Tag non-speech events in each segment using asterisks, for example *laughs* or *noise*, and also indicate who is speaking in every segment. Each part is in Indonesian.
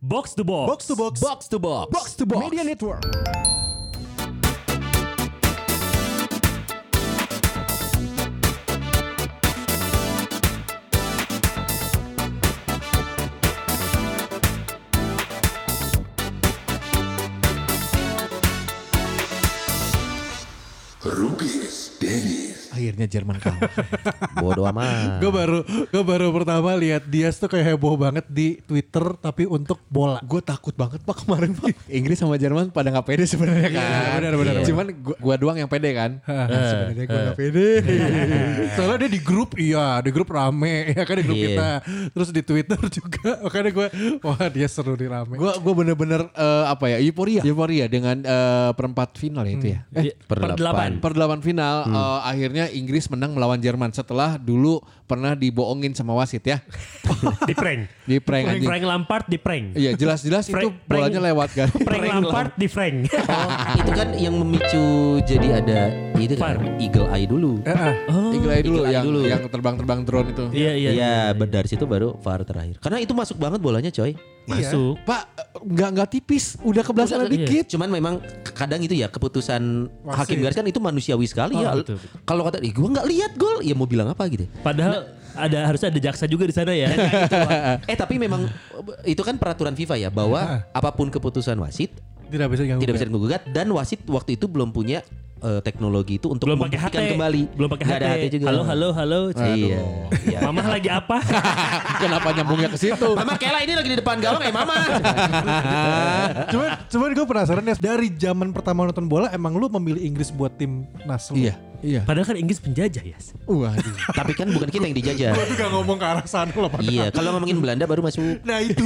Speaker 1: Box to box.
Speaker 2: Box to box.
Speaker 3: Box to box.
Speaker 2: Box to box.
Speaker 3: Media Network.
Speaker 4: Rubius Dennis.
Speaker 2: Akhirnya Jerman kalah.
Speaker 3: Bodoh amat.
Speaker 5: Gue baru gue baru pertama lihat Diaz tuh kayak heboh banget di Twitter tapi untuk bola.
Speaker 2: gue takut banget pak kemarin pak. Inggris sama Jerman pada nggak pede sebenarnya kan.
Speaker 5: Iya, benar, benar, benar.
Speaker 2: Cuman gua, gua doang yang pede kan.
Speaker 5: Ah,
Speaker 2: sebenarnya gue nggak pede.
Speaker 5: Soalnya dia di grup iya, di grup rame *laughs* ya kan di grup
Speaker 3: Iya.
Speaker 5: kita. Terus di Twitter *laughs* juga. Makanya gue wah dia seru di rame.
Speaker 2: Gue gue bener-bener eh, apa ya euforia. Euforia dengan eh, perempat final ya itu ya.
Speaker 5: Hmm. Eh,
Speaker 1: Di-
Speaker 3: Per
Speaker 1: per
Speaker 3: delapan.
Speaker 1: delapan.
Speaker 2: Per delapan final eh, akhirnya Inggris menang melawan Jerman setelah dulu pernah dibohongin sama wasit ya.
Speaker 1: Di prank.
Speaker 2: Di prank
Speaker 1: Frank,
Speaker 2: anjing.
Speaker 1: Frank Lampard di prank.
Speaker 2: Iya jelas-jelas itu
Speaker 1: Frank-
Speaker 2: bolanya
Speaker 1: Frank-
Speaker 2: lewat kan.
Speaker 1: Prank Lampard di prank.
Speaker 3: Oh, itu kan yang memicu jadi ada itu kan
Speaker 1: Var.
Speaker 3: Eagle Eye dulu.
Speaker 5: Eh,
Speaker 1: Oh,
Speaker 2: Eagle Eye dulu
Speaker 3: Eagle Eye
Speaker 2: yang
Speaker 3: dulu.
Speaker 2: yang terbang-terbang drone itu.
Speaker 1: Iya iya.
Speaker 3: Iya, ber- dari situ baru VAR terakhir. Karena itu masuk banget bolanya, coy.
Speaker 1: Masuk.
Speaker 2: Pak nggak nggak tipis, udah kebelasan
Speaker 1: Udah,
Speaker 3: *laughs*
Speaker 1: iya.
Speaker 2: dikit.
Speaker 3: Cuman memang kadang itu ya keputusan hakim garis kan itu manusiawi sekali ya.
Speaker 1: Oh, betul, betul.
Speaker 3: Kalau kata, "Ih, gua nggak lihat gol," ya mau bilang apa gitu.
Speaker 1: Padahal ada harusnya ada jaksa juga di sana ya.
Speaker 3: *laughs* eh tapi memang itu kan peraturan FIFA ya bahwa apapun keputusan wasit
Speaker 5: Tidak bisa ganggu.
Speaker 3: tidak bisa digugat dan wasit waktu itu belum punya eh, teknologi itu untuk
Speaker 1: Belum pakai
Speaker 3: membuktikan
Speaker 1: HT.
Speaker 3: kembali.
Speaker 1: Belum pakai
Speaker 3: Nggak
Speaker 1: HT.
Speaker 3: ada HT juga.
Speaker 1: Halo halo halo.
Speaker 3: Iya. Iya.
Speaker 1: Mama lagi apa?
Speaker 2: Kenapa nyambungnya ke situ?
Speaker 3: Mama Kela ini lagi di depan gawang eh Mama.
Speaker 5: cuman cuman gue penasaran ya dari zaman pertama nonton bola emang lu memilih Inggris buat tim nas lu?
Speaker 2: Iya, iya.
Speaker 1: Padahal kan Inggris penjajah ya.
Speaker 2: Wah,
Speaker 3: Tapi kan bukan kita yang dijajah.
Speaker 5: Gue juga ngomong ke arah sana loh. Pak.
Speaker 3: iya, kalau ngomongin Belanda baru masuk.
Speaker 5: Nah itu.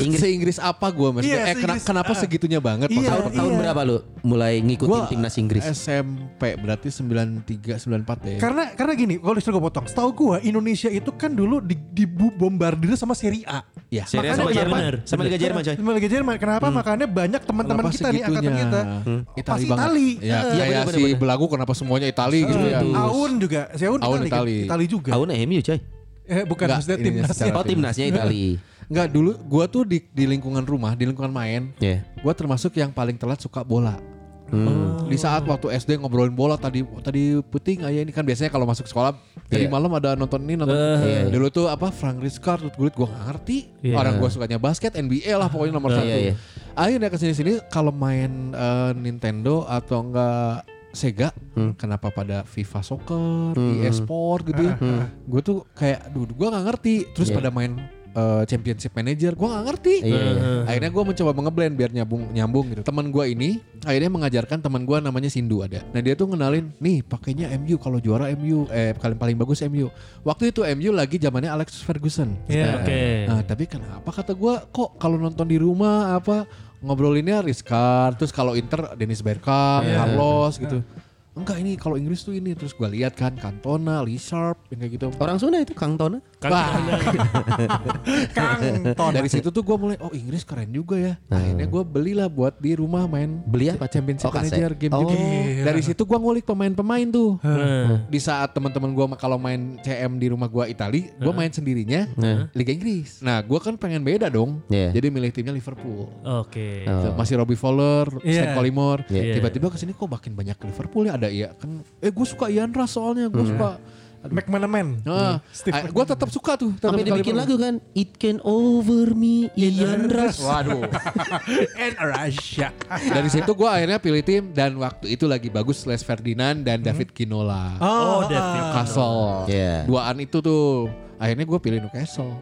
Speaker 3: Inggris
Speaker 2: se-Inggris apa gue maksudnya?
Speaker 5: Iya,
Speaker 2: eh, kena-
Speaker 5: se-Inggris.
Speaker 2: kenapa segitunya banget?
Speaker 5: Iya,
Speaker 2: maksudnya?
Speaker 3: tahun, tahun
Speaker 5: iya.
Speaker 3: berapa lu mulai ngikutin
Speaker 2: Gua eh,
Speaker 3: timnas Inggris?
Speaker 2: SMP berarti 93 94 ya.
Speaker 5: Karena karena gini, kalau disuruh gue potong, setahu gue Indonesia itu kan dulu di, dibombardir sama Serie A. Iya.
Speaker 2: ya.
Speaker 5: Makanya
Speaker 3: Serius sama
Speaker 5: kenapa-
Speaker 3: Jerman?
Speaker 1: bener.
Speaker 3: Sama Liga Jerman, coy.
Speaker 5: Sama Liga Jerman. Kenapa makanya banyak teman-teman
Speaker 2: Kenapa
Speaker 5: kita nih angkatan
Speaker 2: segitunya?
Speaker 5: kita
Speaker 2: Hmm.
Speaker 5: pasti
Speaker 2: banget.
Speaker 5: Itali.
Speaker 2: Ya,
Speaker 5: Eh,
Speaker 3: iya,
Speaker 2: kayak
Speaker 3: bener,
Speaker 2: si
Speaker 3: bener.
Speaker 2: Belagu kenapa semuanya Itali gitu ya.
Speaker 5: eh, Aun juga, si Aun,
Speaker 2: Aun
Speaker 5: Itali, kan?
Speaker 2: Itali.
Speaker 5: Itali juga.
Speaker 3: Tahun MU, coy.
Speaker 5: Eh bukan
Speaker 2: Enggak,
Speaker 5: maksudnya
Speaker 2: ini
Speaker 5: timnasnya.
Speaker 2: secara-
Speaker 3: Oh, timnasnya Itali.
Speaker 2: Enggak dulu gua tuh di, di lingkungan rumah, di lingkungan main,
Speaker 3: Iya.
Speaker 2: gua termasuk yang paling telat suka bola.
Speaker 3: Hmm.
Speaker 2: Di saat waktu SD ngobrolin bola tadi tadi puting ayah ini kan biasanya kalau masuk sekolah tadi
Speaker 3: Iya.
Speaker 2: malam ada nonton ini nonton
Speaker 3: Eh.
Speaker 2: dulu tuh apa Frank Rijkaard Ruud Gullit gua nggak ngerti
Speaker 1: Iya.
Speaker 2: orang gua sukanya basket NBA lah pokoknya nomor
Speaker 3: Iya,
Speaker 2: satu.
Speaker 3: iya.
Speaker 2: Akhirnya kesini sini kalau main eh, Nintendo atau enggak Sega
Speaker 3: Hmm.
Speaker 2: kenapa pada FIFA Soccer, e-sport gitu ya. Gue tuh kayak duh gua nggak ngerti terus
Speaker 3: Hmm. Iya.
Speaker 2: pada main eh, Championship Manager gua nggak ngerti.
Speaker 3: Iya, iya.
Speaker 2: Akhirnya gue mencoba mengeblend biar nyambung nyambung gitu. Teman gue ini akhirnya mengajarkan teman gue namanya Sindu ada. Nah dia tuh ngenalin nih pakainya MU kalau juara MU eh paling paling bagus MU. Waktu itu MU lagi zamannya Alex Ferguson.
Speaker 5: Iya.
Speaker 2: Nah,
Speaker 1: Oke.
Speaker 2: Nah tapi kenapa kata gue kok kalau nonton di rumah apa ngobrolinnya Rizkar terus kalau Inter Dennis Bergkamp, Carlos gitu. Enggak ini kalau Inggris tuh ini terus gue lihat kan Cantona, Lee Sharp yang kayak gitu.
Speaker 3: Orang Sunda itu Kang Tona.
Speaker 1: Kan
Speaker 2: Wah.
Speaker 5: Kang
Speaker 3: Iya.
Speaker 5: Ton.
Speaker 2: Dari situ tuh gue mulai oh Inggris keren juga ya. Akhirnya gue belilah buat di rumah main
Speaker 3: Nah. Beli apa?
Speaker 2: Championship
Speaker 3: Oh, kaset.
Speaker 2: Manager game
Speaker 3: Oh.
Speaker 2: juga. Dari situ gue ngulik pemain-pemain tuh. Nah, Di saat teman-teman gue kalau main CM di rumah gue Itali, gue main sendirinya Liga Inggris. Nah gue kan pengen beda dong.
Speaker 3: Iya.
Speaker 2: Jadi milih timnya Liverpool.
Speaker 1: Oke.
Speaker 3: Oh.
Speaker 2: Gitu. Masih Robbie Fowler, Stan
Speaker 5: Iya.
Speaker 2: Collymore.
Speaker 3: Iya.
Speaker 2: Tiba-tiba kesini kok makin banyak ke Liverpool ya ada ya kan. Eh gue suka Ian Rush soalnya gue
Speaker 3: Hmm.
Speaker 2: suka.
Speaker 5: McManaman.
Speaker 2: Nah,
Speaker 5: Steve
Speaker 2: gue tetap suka tuh. tetap suka
Speaker 3: Sampai dibikin
Speaker 2: Liverpool.
Speaker 3: lagu kan It Can Over Me Ian Rush.
Speaker 2: Waduh.
Speaker 5: And Russia.
Speaker 2: Dari situ gue akhirnya pilih tim dan waktu itu lagi bagus Les Ferdinand
Speaker 1: Hmm.
Speaker 2: dan David Ginola.
Speaker 1: Oh,
Speaker 5: Oh,
Speaker 1: David.
Speaker 2: Newcastle.
Speaker 3: Iya.
Speaker 2: Duaan itu tuh. Akhirnya gue pilih Newcastle.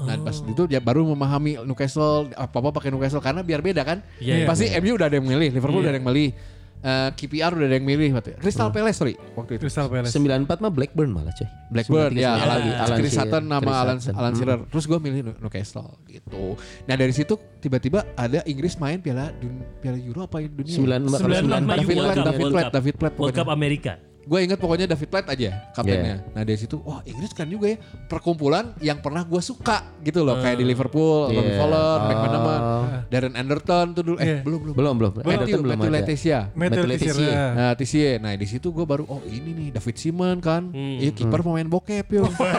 Speaker 2: Dan pas
Speaker 1: Oh.
Speaker 2: itu dia baru memahami Newcastle apa-apa pakai Newcastle karena biar beda kan.
Speaker 1: Iya, iya.
Speaker 2: Pasti MU udah ada yang milih, Liverpool udah ada yang milih. eh, KPR udah ada yang milih waktu itu. Crystal Palace sorry waktu itu.
Speaker 5: Crystal Palace.
Speaker 3: 94 mah Blackburn malah, coy.
Speaker 2: Blackburn ya,
Speaker 3: 93,
Speaker 1: Iya,
Speaker 2: Alan,
Speaker 3: Alan
Speaker 2: Chris
Speaker 3: Shearer.
Speaker 2: Sutton nama
Speaker 3: Chris
Speaker 2: Alan
Speaker 3: Sutton.
Speaker 2: Alan Shearer. Terus gue milih Nu- Newcastle gitu. Nah dari situ tiba-tiba ada Inggris main piala dun, piala Euro apa ya, dunia?
Speaker 3: Sembilan-
Speaker 1: Sembilan
Speaker 3: Sembilan-
Speaker 1: Mei
Speaker 2: David
Speaker 1: World
Speaker 2: Platt,
Speaker 1: Cup,
Speaker 2: David
Speaker 1: World
Speaker 2: Platt,
Speaker 1: Cup.
Speaker 2: David Platt
Speaker 1: World
Speaker 2: pokoknya.
Speaker 1: Cup Amerika.
Speaker 2: Gue inget pokoknya David Platt aja kaptennya.
Speaker 3: Iya.
Speaker 2: Nah dari situ wah Inggris kan juga ya perkumpulan yang pernah gue suka gitu loh kayak di Liverpool, Robbie
Speaker 3: Hmm. Iya.
Speaker 2: Fowler,
Speaker 3: Oh.
Speaker 2: McManaman. Darren Anderton tuh dulu
Speaker 5: Iya.
Speaker 2: eh belum belum.
Speaker 3: Belum, belum.
Speaker 2: Matthew,
Speaker 3: Anderton belum
Speaker 2: Matthew
Speaker 3: ada.
Speaker 2: Letizia.
Speaker 5: Matthew iya.
Speaker 3: Matthew
Speaker 5: Letizia.
Speaker 2: Nah, Tissier. Nah, di situ gue baru oh ini nih David Simon kan.
Speaker 5: Hmm.
Speaker 2: Iya,
Speaker 3: Hmm.
Speaker 2: kiper pemain bokep
Speaker 5: *laughs*
Speaker 2: yo.
Speaker 5: Iya.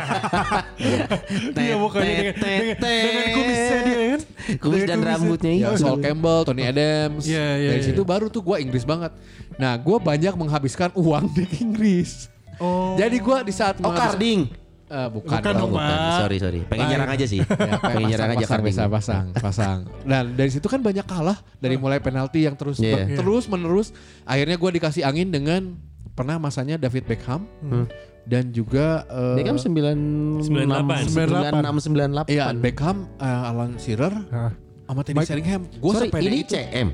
Speaker 5: Dia mukanya dengan, dengan, dengan kumisnya dia kan.
Speaker 3: Kumis
Speaker 5: Dengan kan?
Speaker 3: dan
Speaker 5: kumisnya.
Speaker 3: rambutnya.
Speaker 2: Ya, Saul Campbell, Tony Adams.
Speaker 5: Iya, iya,
Speaker 2: Dari
Speaker 5: iya.
Speaker 2: situ baru tuh gue Inggris banget. Nah, gue banyak menghabiskan uang di Inggris.
Speaker 5: Oh.
Speaker 2: Jadi gue di saat
Speaker 3: Oh
Speaker 2: menghabis-
Speaker 3: karding.
Speaker 2: Eh, bukan,
Speaker 5: Bukan
Speaker 2: dong.
Speaker 5: dong, Pak.
Speaker 3: Sorry sorry. Pengen
Speaker 2: Pak.
Speaker 3: nyerang aja *laughs* sih.
Speaker 2: Ya,
Speaker 3: Pengen
Speaker 2: pasang,
Speaker 3: nyerang aja
Speaker 2: pasang,
Speaker 3: karding.
Speaker 2: bisa pasang, pasang. Dan dari situ kan banyak kalah dari mulai penalti yang terus
Speaker 3: Iya.
Speaker 2: ber- terus menerus. Akhirnya gue dikasih angin dengan pernah masanya David Beckham dan juga eh,
Speaker 3: Dia kan 9 96 98.
Speaker 1: 98.
Speaker 2: Iya, Beckham, eh, Alan Shearer,
Speaker 5: Hah.
Speaker 2: sama Teddy Sheringham. Gue
Speaker 3: Sorry,
Speaker 2: sepele
Speaker 3: ini
Speaker 2: itu.
Speaker 3: CM.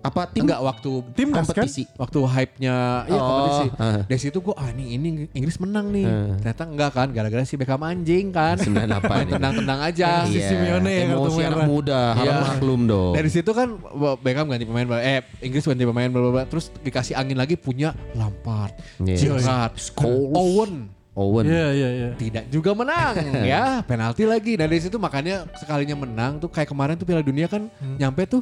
Speaker 3: Apa tim
Speaker 2: Enggak waktu
Speaker 5: Timnas kan?
Speaker 3: kompetisi?
Speaker 2: waktu hype-nya iya
Speaker 3: Oh,
Speaker 2: kompetisi.
Speaker 3: ah.
Speaker 2: Dari situ gue ah ini, ini Inggris menang nih. Ternyata enggak kan gara-gara si Beckham anjing kan.
Speaker 3: 98
Speaker 2: Main
Speaker 3: ini.
Speaker 2: tenang-tenang aja.
Speaker 3: Iya.
Speaker 5: Si Simeone ya, kartu
Speaker 3: emosi anak
Speaker 5: merah.
Speaker 3: muda, harus
Speaker 2: Iya.
Speaker 3: maklum dong.
Speaker 2: Dari situ kan Beckham ganti pemain bla- eh Inggris ganti pemain bla bla bla. terus dikasih angin lagi punya Lampard,
Speaker 3: Iya.
Speaker 2: Gerrard,
Speaker 3: Scholes.
Speaker 2: Owen
Speaker 3: Owen.
Speaker 5: Iya iya iya.
Speaker 2: tidak juga
Speaker 3: *laughs*
Speaker 2: menang ya penalti lagi nah dari situ makanya sekalinya menang tuh kayak kemarin tuh Piala Dunia kan
Speaker 3: Hmm.
Speaker 2: nyampe tuh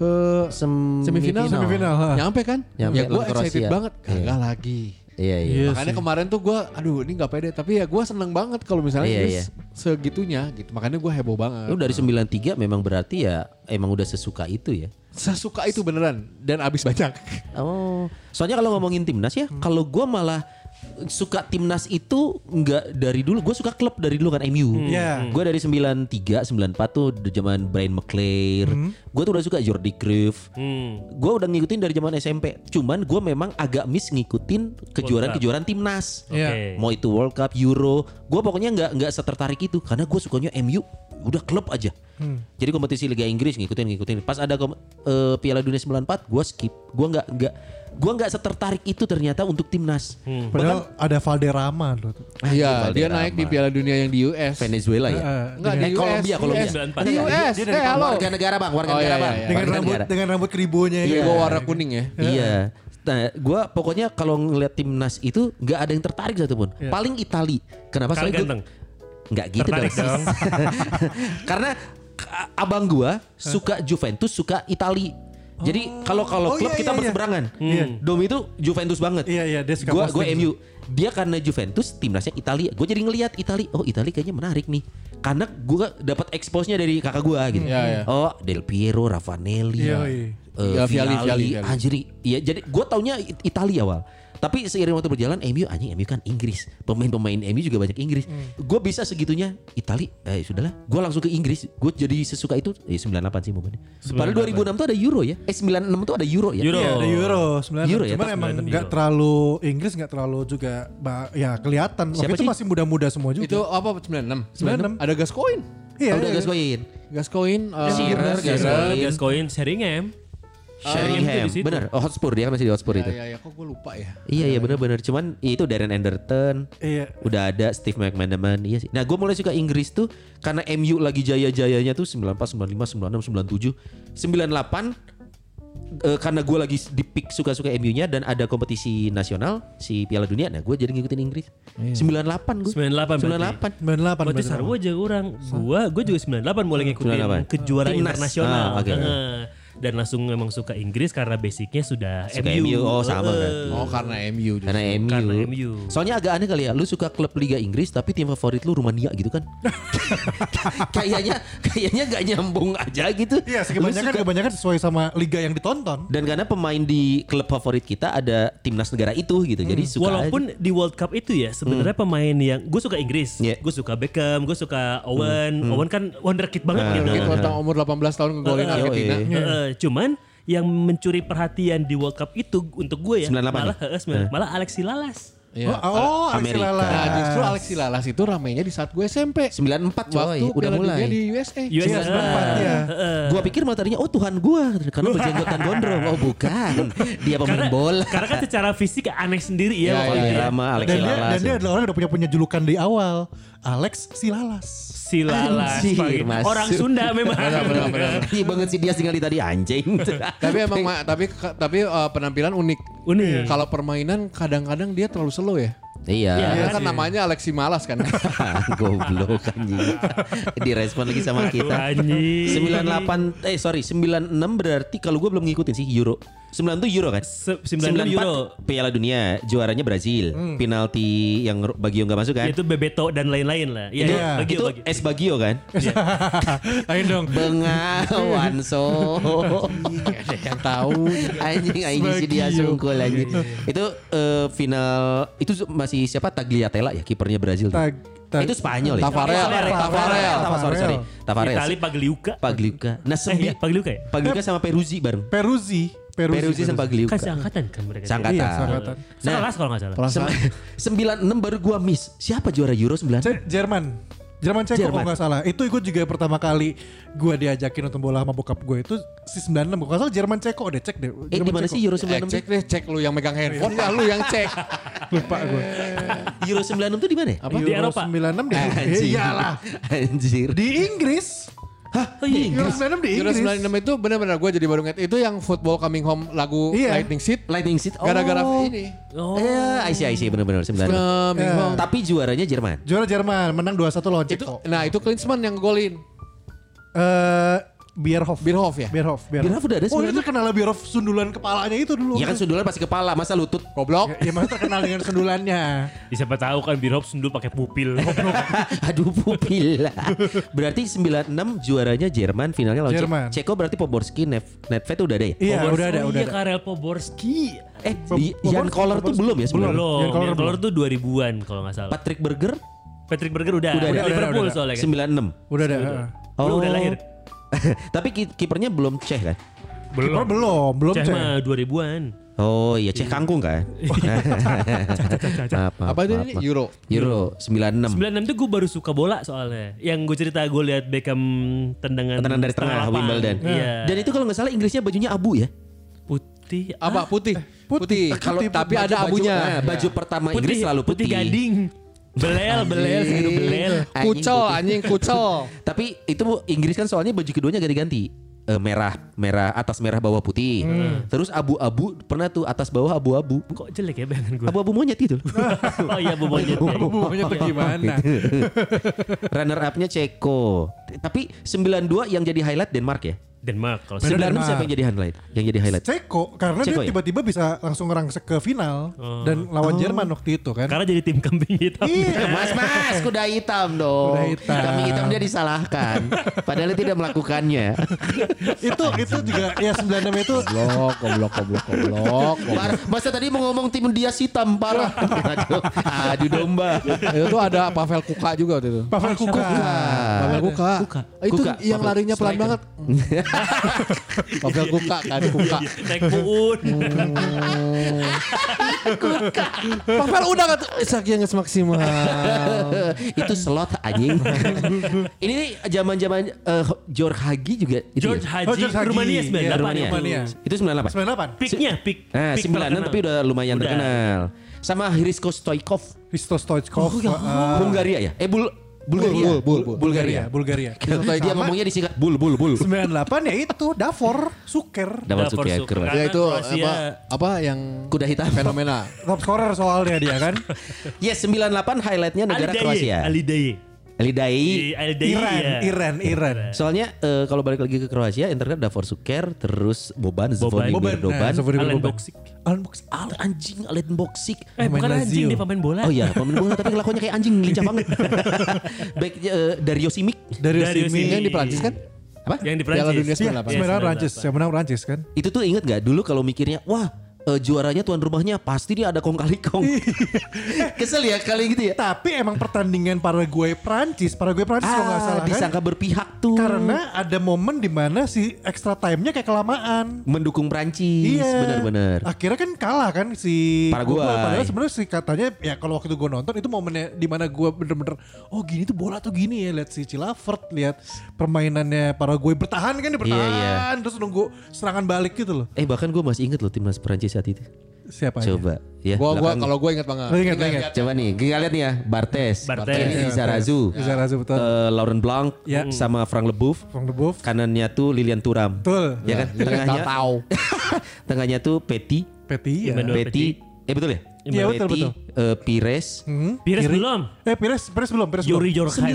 Speaker 2: ke
Speaker 3: Sem-
Speaker 2: semifinal,
Speaker 5: Semifinal, ha.
Speaker 2: nyampe kan
Speaker 3: Nyampe
Speaker 2: ya gue
Speaker 3: lawan
Speaker 2: excited
Speaker 3: Kroasia.
Speaker 2: banget
Speaker 3: Iya.
Speaker 2: kagak lagi
Speaker 3: Iya iya.
Speaker 5: Iya
Speaker 2: makanya
Speaker 5: sih.
Speaker 2: kemarin tuh gue aduh ini nggak pede tapi ya gue seneng banget kalau misalnya
Speaker 3: Iya,
Speaker 2: Inggris
Speaker 3: iya.
Speaker 2: segitunya gitu makanya gue heboh banget
Speaker 3: Lu dari 93 memang berarti ya emang udah sesuka itu ya.
Speaker 2: sesuka itu beneran dan abis banyak
Speaker 3: Oh, soalnya kalau ngomongin timnas ya, kalau gua malah suka timnas itu nggak dari dulu. Gue suka klub dari dulu kan MU.
Speaker 5: Iya.
Speaker 3: Gue dari 93, 94 tuh di zaman Brian McClair. Gue tuh udah suka Jordi Cruyff.
Speaker 1: Hmm.
Speaker 3: Gue udah ngikutin dari zaman SMP. Cuman gue memang agak miss ngikutin kejuaraan-kejuaraan timnas.
Speaker 1: Oke.
Speaker 5: Iya.
Speaker 3: Mau itu World Cup, Euro, gue pokoknya nggak nggak setertarik itu karena gue sukanya MU udah klub aja. Jadi kompetisi Liga Inggris ngikutin ngikutin. Pas ada kom- eh, Piala Dunia 94, gue skip. Gue nggak nggak gue nggak setertarik itu ternyata untuk timnas.
Speaker 5: Hmm. Padahal ada Valderrama loh. tuh.
Speaker 2: Iya,
Speaker 3: Valderrama.
Speaker 2: dia naik di Piala Dunia yang di US.
Speaker 3: Venezuela ya.
Speaker 5: Heeh.
Speaker 2: Enggak, di
Speaker 3: Eh,
Speaker 2: US.
Speaker 3: Kolombia, Kolombia.
Speaker 2: US.
Speaker 1: Sembilan empat.
Speaker 2: Di
Speaker 3: Enggak, enggak,
Speaker 2: US.
Speaker 3: dia- dia
Speaker 2: Eh,
Speaker 3: dari
Speaker 2: halo.
Speaker 3: warga negara bang, warga
Speaker 2: Oh,
Speaker 3: negara
Speaker 2: iya,
Speaker 3: bang.
Speaker 2: iya.
Speaker 5: Dengan
Speaker 3: Warga
Speaker 5: rambut
Speaker 3: negara.
Speaker 5: dengan rambut kribonya
Speaker 2: Iya,
Speaker 5: ya.
Speaker 2: gua warna kuning ya.
Speaker 3: Iya. Nah, gue pokoknya kalau ngeliat timnas itu nggak ada yang tertarik satupun. Paling Itali. Kenapa? Soalnya
Speaker 1: Karena
Speaker 3: gua-
Speaker 1: ganteng.
Speaker 3: nggak gitu
Speaker 1: Tertarik
Speaker 3: dong.
Speaker 1: dong.
Speaker 3: *laughs* Karena k- abang gua suka Juventus, suka Itali. Jadi kalau
Speaker 5: Oh,
Speaker 3: kalau klub
Speaker 5: iya,
Speaker 3: kita
Speaker 5: iya, iya.
Speaker 3: berseberangan.
Speaker 5: Iya.
Speaker 3: Dom itu Juventus banget.
Speaker 5: Iya, iya, dia suka
Speaker 3: Gua
Speaker 5: posting.
Speaker 3: gua MU. Dia karena Juventus timnasnya Italia. Gue jadi ngelihat Italia. Oh, Italia kayaknya menarik nih. Karena gua dapat expose-nya dari kakak gua gitu.
Speaker 2: Iya, iya.
Speaker 3: Oh, Del Piero, Ravanelli.
Speaker 5: Iya,
Speaker 3: eh,
Speaker 2: iya. Iya, Vialli,
Speaker 3: Vialli,
Speaker 2: Vialli, Vialli.
Speaker 3: anjir iya jadi gue taunya It- Italia awal tapi seiring waktu berjalan MU anjing MU kan Inggris pemain-pemain MU juga banyak Inggris
Speaker 1: Hmm.
Speaker 3: gue bisa segitunya Itali eh sudahlah gue langsung ke Inggris gue jadi sesuka itu eh 98 sih momennya padahal 2006 tuh ada Euro ya eh 96 tuh ada Euro ya
Speaker 1: Euro.
Speaker 5: Iya, ada Euro sebenarnya.
Speaker 3: Euro ya,
Speaker 5: Cuman
Speaker 1: pas
Speaker 5: emang
Speaker 1: 96
Speaker 5: nggak
Speaker 1: Euro.
Speaker 5: terlalu Inggris nggak terlalu juga ba- ya kelihatan. Waktu
Speaker 3: Siapa
Speaker 5: itu
Speaker 3: sih?
Speaker 5: masih muda-muda semua juga.
Speaker 2: Itu apa 96?
Speaker 5: 96.
Speaker 2: Ada Gascoigne.
Speaker 5: Iya,
Speaker 3: udah
Speaker 5: iya.
Speaker 3: Gascoigne
Speaker 2: Gascoigne eh,
Speaker 3: Shearer,
Speaker 2: Shearer.
Speaker 3: Gascoigne.
Speaker 1: Gascoigne, Sheringham.
Speaker 3: Sheringham
Speaker 1: Ah, iya, di situ.
Speaker 3: bener oh, Hotspur dia kan masih di Hotspur
Speaker 2: Ya,
Speaker 3: itu
Speaker 2: ya, ya, kok gue lupa ya.
Speaker 3: Iya iya benar-benar cuman itu Darren Anderton.
Speaker 5: Iya.
Speaker 3: Udah ada Steve McManaman iya sih. Nah, gue mulai suka Inggris tuh karena MU lagi jaya-jayanya tuh 94, 95, 96, 97, 98 eh, karena gue lagi di peak suka-suka MU-nya dan ada kompetisi nasional si Piala Dunia. Nah, gue jadi ngikutin Inggris. 98 gue.
Speaker 1: 98 berarti.
Speaker 3: 98.
Speaker 5: 98 bener.
Speaker 1: Berarti sarwa aja orang. Gua gua juga 98 mulai ngikutin
Speaker 3: 98.
Speaker 1: kejuaraan
Speaker 3: Timnas.
Speaker 1: internasional.
Speaker 3: Ah, oke.
Speaker 1: Heeh. Dan langsung memang suka Inggris karena basicnya sudah
Speaker 3: Suka MU. Oh, sama
Speaker 1: Heeh.
Speaker 3: berarti.
Speaker 2: Oh, karena MU juga.
Speaker 3: Karena MU.
Speaker 1: Karena MU.
Speaker 3: Soalnya agak aneh kali ya, lu suka klub Liga Inggris tapi tim favorit lu Rumania gitu kan? kayaknya kayaknya gak nyambung aja gitu.
Speaker 5: Iya,
Speaker 3: Lu
Speaker 5: kebanyakan
Speaker 3: suka-
Speaker 5: kebanyakan sesuai sama liga yang ditonton.
Speaker 3: dan karena pemain di klub favorit kita ada timnas negara itu gitu. Jadi suka
Speaker 1: Hmm, Walaupun
Speaker 3: aja. Hmm.
Speaker 1: di World Cup itu ya sebenarnya pemain yang gue suka Inggris,
Speaker 3: Iya. Hmm.
Speaker 1: gue suka Beckham, gue suka Owen, Owen kan wonderkid banget
Speaker 3: Ah,
Speaker 1: gitu.
Speaker 2: Gitu tentang umur 18 tahun ngegolin
Speaker 3: Heeh.
Speaker 2: Argentina.
Speaker 3: Yoi.
Speaker 1: Eh, eh, cuman yang mencuri perhatian di World Cup itu untuk gue ya
Speaker 3: 98
Speaker 1: malah
Speaker 3: ya?
Speaker 1: eh, 99, malah Alexi Lalas.
Speaker 2: Iya.
Speaker 5: Oh, oh Alexi
Speaker 3: Amerika.
Speaker 5: Lalas.
Speaker 2: Nah, justru Alexi Lalas itu ramainya di saat gue SMP.
Speaker 3: 94
Speaker 2: Waktu
Speaker 3: coy, udah
Speaker 2: Piala Dunia
Speaker 3: mulai.
Speaker 2: di USA.
Speaker 1: US,
Speaker 5: Iya, 94 ya.
Speaker 3: Gua pikir malah tadinya oh Tuhan gua
Speaker 1: *laughs*
Speaker 3: karena berjenggotan gondrong. Oh bukan. Dia pemain
Speaker 1: Karena,
Speaker 3: bola. *laughs*
Speaker 1: karena kan secara fisik aneh sendiri
Speaker 2: Iya,
Speaker 1: ya.
Speaker 2: iya,
Speaker 1: waktu itu
Speaker 2: iya.
Speaker 1: ya.
Speaker 3: Drama Alexi
Speaker 5: Dan dia,
Speaker 3: Lalas.
Speaker 5: dan dia adalah orang yang udah punya punya julukan di awal, Alex Silalas.
Speaker 1: Si Lalas.
Speaker 3: Anjir,
Speaker 1: pagi.
Speaker 3: Mas.
Speaker 1: Orang Sunda memang.
Speaker 3: Iya banget sih dia tinggal di
Speaker 5: *laughs*
Speaker 3: tadi anjing.
Speaker 2: tapi emang Ma, tapi tapi eh, penampilan unik.
Speaker 1: Unik.
Speaker 2: Kalau permainan kadang-kadang dia terlalu slow ya.
Speaker 3: Iya.
Speaker 1: Iya.
Speaker 2: Dia
Speaker 1: kan,
Speaker 2: kan namanya Alexi Malas kan.
Speaker 3: *laughs* Goblok anjing. Direspon lagi sama kita.
Speaker 1: Anjing.
Speaker 3: 98 eh sorry 96 berarti kalau gue belum ngikutin sih Euro. 97 Euro kan?
Speaker 1: Se- 96 Euro.
Speaker 3: 94
Speaker 1: Hmm.
Speaker 3: Piala Dunia, juaranya Brazil. Penalti yang Bagio nggak masuk kan?
Speaker 1: Itu Bebeto dan lain-lain lah. Iya,
Speaker 3: Itu-
Speaker 1: iya, bagi
Speaker 3: itu
Speaker 1: bagi.
Speaker 3: es Bagio kan?
Speaker 5: *laughs* Ayo dong.
Speaker 3: *laughs* Bengawan so.
Speaker 2: Ada yang tahu.
Speaker 3: anjing anjing si dia sungkul anjing. itu eh, final itu masih siapa Tagliatella ya kipernya Brazil. tuh.
Speaker 5: Tag- tag-
Speaker 3: itu Spanyol ya.
Speaker 2: Tafarel,
Speaker 3: Tafarel,
Speaker 2: Tafarel.
Speaker 3: Tafarel, sorry, sorry. Tafarel.
Speaker 1: Itali Pagliuca.
Speaker 3: Pagliuca. Nah,
Speaker 1: Eh,
Speaker 3: sembi
Speaker 1: iya, Pagliuca ya?
Speaker 3: Pagliuca sama Peruzzi bareng.
Speaker 5: Peruzzi. Peruzzi,
Speaker 3: Peruzzi sama Pagliuca.
Speaker 1: Kan seangkatan kan mereka.
Speaker 3: Seangkatan.
Speaker 5: Iya, seangkatan.
Speaker 3: Nah,
Speaker 1: Sekelas kalau nggak salah.
Speaker 2: Perasaan
Speaker 3: sembilan enam baru gua miss. Siapa juara Euro 9?
Speaker 5: Ce- Jerman. Jerman Ceko
Speaker 3: Jerman.
Speaker 5: kalau nggak salah. Itu ikut juga pertama kali gue diajakin nonton bola sama bokap gue itu si 96. Kalau nggak salah Jerman Ceko deh cek deh.
Speaker 3: Eh, di
Speaker 5: Jerman
Speaker 3: mana
Speaker 5: Ceko.
Speaker 3: sih Euro
Speaker 2: Eh,
Speaker 3: 96?
Speaker 2: cek deh, cek lu yang megang handphone ya lu yang cek.
Speaker 5: Lupa gue.
Speaker 3: Euro 96 tuh di mana? ya?
Speaker 1: Apa? Di
Speaker 5: Euro
Speaker 1: Eropa?
Speaker 5: 96 deh.
Speaker 3: Anjir.
Speaker 5: Iyalah.
Speaker 3: Anjir.
Speaker 5: Di Inggris.
Speaker 1: Oh, iya.
Speaker 5: Euro 96 di
Speaker 2: Euro
Speaker 5: Inggris.
Speaker 2: 96 itu benar-benar gue jadi baru ngerti itu yang Football Coming Home lagu
Speaker 5: Iya.
Speaker 2: Lightning Seed
Speaker 3: Lightning Seed. Oh.
Speaker 2: gara-gara ini.
Speaker 1: Oh.
Speaker 3: Iya, IC IC benar-benar 96.
Speaker 2: Coming Home.
Speaker 3: Eh, Tapi juaranya Jerman.
Speaker 5: Juara Jerman menang 2-1 lawan
Speaker 2: Itu
Speaker 5: Ceko.
Speaker 2: nah itu Klinsmann yang golin.
Speaker 5: Eh Bierhoff.
Speaker 2: Bierhoff ya?
Speaker 5: Bierhoff.
Speaker 3: Bierhoff udah ada
Speaker 5: Oh itu
Speaker 3: sebenarnya.
Speaker 5: terkenal Bierhoff sundulan kepalanya itu dulu.
Speaker 3: Ya kan sundulan pasti kepala, masa lutut?
Speaker 2: Goblok.
Speaker 5: Ya, ya maksudnya terkenal dengan sundulannya.
Speaker 1: Ya, siapa tahu kan Birop sundul pakai
Speaker 3: *laughs*
Speaker 1: pupil.
Speaker 3: Iya, Aduh pupil. berarti 96 juaranya Jerman, finalnya lawan
Speaker 5: Jerman.
Speaker 3: Ceko. Ceko berarti Poborski, Nef- Nedved udah ada ya?
Speaker 5: Iya
Speaker 1: Poborski-
Speaker 5: udah ada udah
Speaker 1: oh iya,
Speaker 5: ada.
Speaker 3: kan.
Speaker 1: Karel Poborski.
Speaker 3: Eh,
Speaker 5: Bob-
Speaker 3: di-
Speaker 5: Bob-
Speaker 3: Jan
Speaker 5: Bob-
Speaker 3: Koller
Speaker 5: Bob-
Speaker 3: tuh belum ya sebenarnya?
Speaker 1: Belum,
Speaker 5: Jan Koller
Speaker 1: Jan Koller tuh 2000-an kalau nggak salah.
Speaker 3: Patrick Berger
Speaker 1: Patrick Berger udah,
Speaker 3: Udah, udah,
Speaker 1: Liverpool
Speaker 5: udah, udah.
Speaker 1: soalnya kan.
Speaker 3: 96.
Speaker 5: Udah ada.
Speaker 1: Lu udah lahir.
Speaker 3: Oh. *laughs* Tapi ki- kipernya belum Ceh kan?
Speaker 5: Belum belum belum
Speaker 1: Cah
Speaker 5: Cek.
Speaker 1: mah 2000-an.
Speaker 3: Oh iya Ceh kangkung kan?
Speaker 1: Iya.
Speaker 3: *laughs* Maaf, maaf,
Speaker 2: Apa itu
Speaker 3: maaf,
Speaker 2: ini?
Speaker 3: maaf.
Speaker 2: Euro.
Speaker 3: Euro 96.
Speaker 1: 96 tuh gue baru suka bola soalnya. Yang gue cerita gue lihat Beckham tendangan
Speaker 3: Tendangan dari tengah
Speaker 1: lapangan.
Speaker 3: Wimbledon.
Speaker 1: Iya.
Speaker 3: Dan itu kalau nggak salah Inggrisnya bajunya abu ya?
Speaker 1: putih
Speaker 2: Apa putih?
Speaker 5: putih.
Speaker 2: Putih. Kalau
Speaker 5: Putih,
Speaker 2: tapi
Speaker 5: baju-
Speaker 2: ada
Speaker 3: Baju-
Speaker 2: abunya. Iya.
Speaker 3: eh, baju pertama Inggris selalu putih.
Speaker 1: gading. Belel, belel, segitu belel.
Speaker 3: Anjing
Speaker 2: Kucel
Speaker 3: putih.
Speaker 2: anjing kucel.
Speaker 3: Tapi itu Inggris kan soalnya baju keduanya ganti-ganti. Eh, merah, merah atas merah bawah putih. Terus abu-abu pernah tuh atas bawah abu-abu.
Speaker 1: Kok jelek ya bayangan
Speaker 3: *laughs*
Speaker 1: gue?
Speaker 3: Abu-abu monyet gitu. loh.
Speaker 1: oh iya bu monyet.
Speaker 5: Bumbunya tuh gimana?
Speaker 3: Runner upnya Ceko. Tapi 92 yang jadi highlight Denmark ya.
Speaker 1: Denmark kalau
Speaker 5: Bener.
Speaker 3: 96 siapa
Speaker 5: Denmark.
Speaker 3: yang jadi highlight? Yang jadi highlight.
Speaker 5: Ceko karena
Speaker 3: Ceko
Speaker 5: dia
Speaker 3: ya?
Speaker 5: tiba-tiba bisa langsung ngerangsek ke final
Speaker 1: Oh.
Speaker 5: dan lawan Jerman waktu itu kan.
Speaker 1: Karena jadi tim kambing hitam.
Speaker 5: Iya.
Speaker 3: Mas Mas kuda hitam dong.
Speaker 5: Kuda hitam.
Speaker 3: Kami hitam dia disalahkan. Padahal dia tidak melakukannya.
Speaker 5: itu itu juga ya 96 itu
Speaker 2: Goblok, goblok, goblok, goblok. goblok.
Speaker 3: Parah. Masa tadi mau ngomong tim dia hitam parah. Aduh, adu domba.
Speaker 2: itu tuh ada Pavel Kuka juga waktu itu.
Speaker 5: Pavel Kuka.
Speaker 2: Pavel Kuka. Ah,
Speaker 1: Kuka.
Speaker 2: Itu
Speaker 3: Kuka.
Speaker 2: yang
Speaker 3: Pavel
Speaker 2: larinya pelan
Speaker 3: Striker.
Speaker 2: *laughs* banget. Pavel Kuka kan
Speaker 1: *laughs*
Speaker 2: Kuka.
Speaker 1: Naik puun.
Speaker 3: Hmm.
Speaker 2: Pavel udah kan sakitnya nggak semaksimal.
Speaker 3: itu slot anjing. Ini nih zaman-zaman eh, George Hagi juga itu.
Speaker 1: George
Speaker 3: ya?
Speaker 1: Haji,
Speaker 5: George Hagi.
Speaker 1: Rumania
Speaker 5: Iya,
Speaker 1: 98.
Speaker 3: Rumania.
Speaker 5: Rumania.
Speaker 3: Itu 98.
Speaker 5: 98.
Speaker 1: Peaknya, peak.
Speaker 3: Nah,
Speaker 1: peak
Speaker 3: 96 tapi udah lumayan
Speaker 1: Udah.
Speaker 3: terkenal. Sama Hrisko Stoikov.
Speaker 5: Risto Stoichkov. uh,
Speaker 3: Oh, Bulgaria ya? Eh Bul Bulgaria.
Speaker 2: Bul, bul, bul.
Speaker 3: Bulgaria.
Speaker 5: Bulgaria.
Speaker 3: Dia ngomongnya disingkat bul bul bul.
Speaker 5: 98 ya itu Davor Suker.
Speaker 3: Dapat
Speaker 1: Davor
Speaker 3: suka
Speaker 1: Suker.
Speaker 3: keren.
Speaker 2: ya itu
Speaker 1: Kroasia.
Speaker 2: apa apa yang
Speaker 3: Kuda hitam.
Speaker 2: fenomena.
Speaker 5: Top scorer soalnya dia kan.
Speaker 3: Yes, 98 Iya, highlightnya negara
Speaker 1: Alidaye,
Speaker 3: Kroasia.
Speaker 1: Alidaye.
Speaker 3: Elidai.
Speaker 1: Alidaye.
Speaker 5: Iran,
Speaker 1: ya.
Speaker 5: Iran, Iran.
Speaker 3: Soalnya eh, kalau balik lagi ke Kroasia, internet Davor Suker, terus Boban, Zvonimir
Speaker 1: Boban.
Speaker 3: Doban.
Speaker 5: Nah, Zvonimir
Speaker 1: Alan
Speaker 5: Boban.
Speaker 1: Boksik.
Speaker 5: Alan Boksik.
Speaker 3: Al anjing Alen Boksik.
Speaker 5: Pemain
Speaker 1: Eh bukan anjing
Speaker 5: Lazio.
Speaker 1: dia pemain bola.
Speaker 3: Oh iya, pemain bola tapi kelakuannya kayak anjing
Speaker 1: *laughs*
Speaker 3: lincah banget. Baik eh, Dario Simic.
Speaker 5: Dari sini.
Speaker 1: Dario Simic.
Speaker 2: Yang di Prancis kan?
Speaker 3: Apa?
Speaker 1: Yang di Prancis.
Speaker 2: Piala Dunia
Speaker 5: Iya,
Speaker 2: 98.
Speaker 1: Iya,
Speaker 5: 98 Prancis.
Speaker 1: 98.
Speaker 5: Yang menang Prancis kan.
Speaker 3: Itu tuh inget gak dulu kalau mikirnya, wah eh, juaranya tuan rumahnya pasti dia ada kong kali
Speaker 1: *laughs*
Speaker 3: kong. Kesel ya kali gitu ya.
Speaker 5: Tapi emang pertandingan Paraguay Prancis, Paraguay Prancis kalau nggak
Speaker 3: Ah,
Speaker 5: salah kan.
Speaker 3: disangka berpihak tuh.
Speaker 5: Karena ada momen di mana si extra time-nya kayak kelamaan.
Speaker 3: mendukung Prancis,
Speaker 5: Iya.
Speaker 3: benar-benar.
Speaker 5: Akhirnya kan kalah kan si
Speaker 3: Paraguay.
Speaker 5: Padahal sebenarnya sih katanya ya kalau waktu gue nonton itu momennya di mana gue bener-bener oh gini tuh bola tuh gini ya lihat si Cilavert lihat permainannya Paraguay bertahan kan
Speaker 3: Iya,
Speaker 5: dia bertahan terus nunggu serangan balik gitu loh.
Speaker 3: Eh bahkan gue masih inget loh timnas Prancis saat itu.
Speaker 5: Siapa aja?
Speaker 3: Coba ya.
Speaker 2: Gua gua
Speaker 3: belakang.
Speaker 2: kalau gua ingat banget. Iya kan?
Speaker 5: Lu ingat, lu ingat.
Speaker 3: Coba nih, kita lihat nih ya, Bartes,
Speaker 1: Bartes.
Speaker 3: Kenny Lizarazu,
Speaker 5: Iya, Lizarazu, betul.
Speaker 3: eh, Laurent Blanc,
Speaker 5: Ya.
Speaker 3: sama Frank Leboeuf,
Speaker 5: From the Buff.
Speaker 3: kanannya tuh Lilian Turam,
Speaker 5: Betul.
Speaker 3: ya kan?
Speaker 2: Lilian
Speaker 3: Tengahnya,
Speaker 2: Tatau.
Speaker 3: *laughs* tengahnya tuh Peti,
Speaker 5: Peti ya.
Speaker 1: Emmanuel
Speaker 3: Peti, eh betul ya?
Speaker 5: Iya betul
Speaker 3: Betty,
Speaker 5: betul.
Speaker 3: eh, Pires.
Speaker 5: Hmm,
Speaker 1: Pires
Speaker 5: kiri.
Speaker 1: belum.
Speaker 5: Eh Pires, Pires belum, Pires
Speaker 1: Yuri
Speaker 5: belum.
Speaker 1: Jorkaev.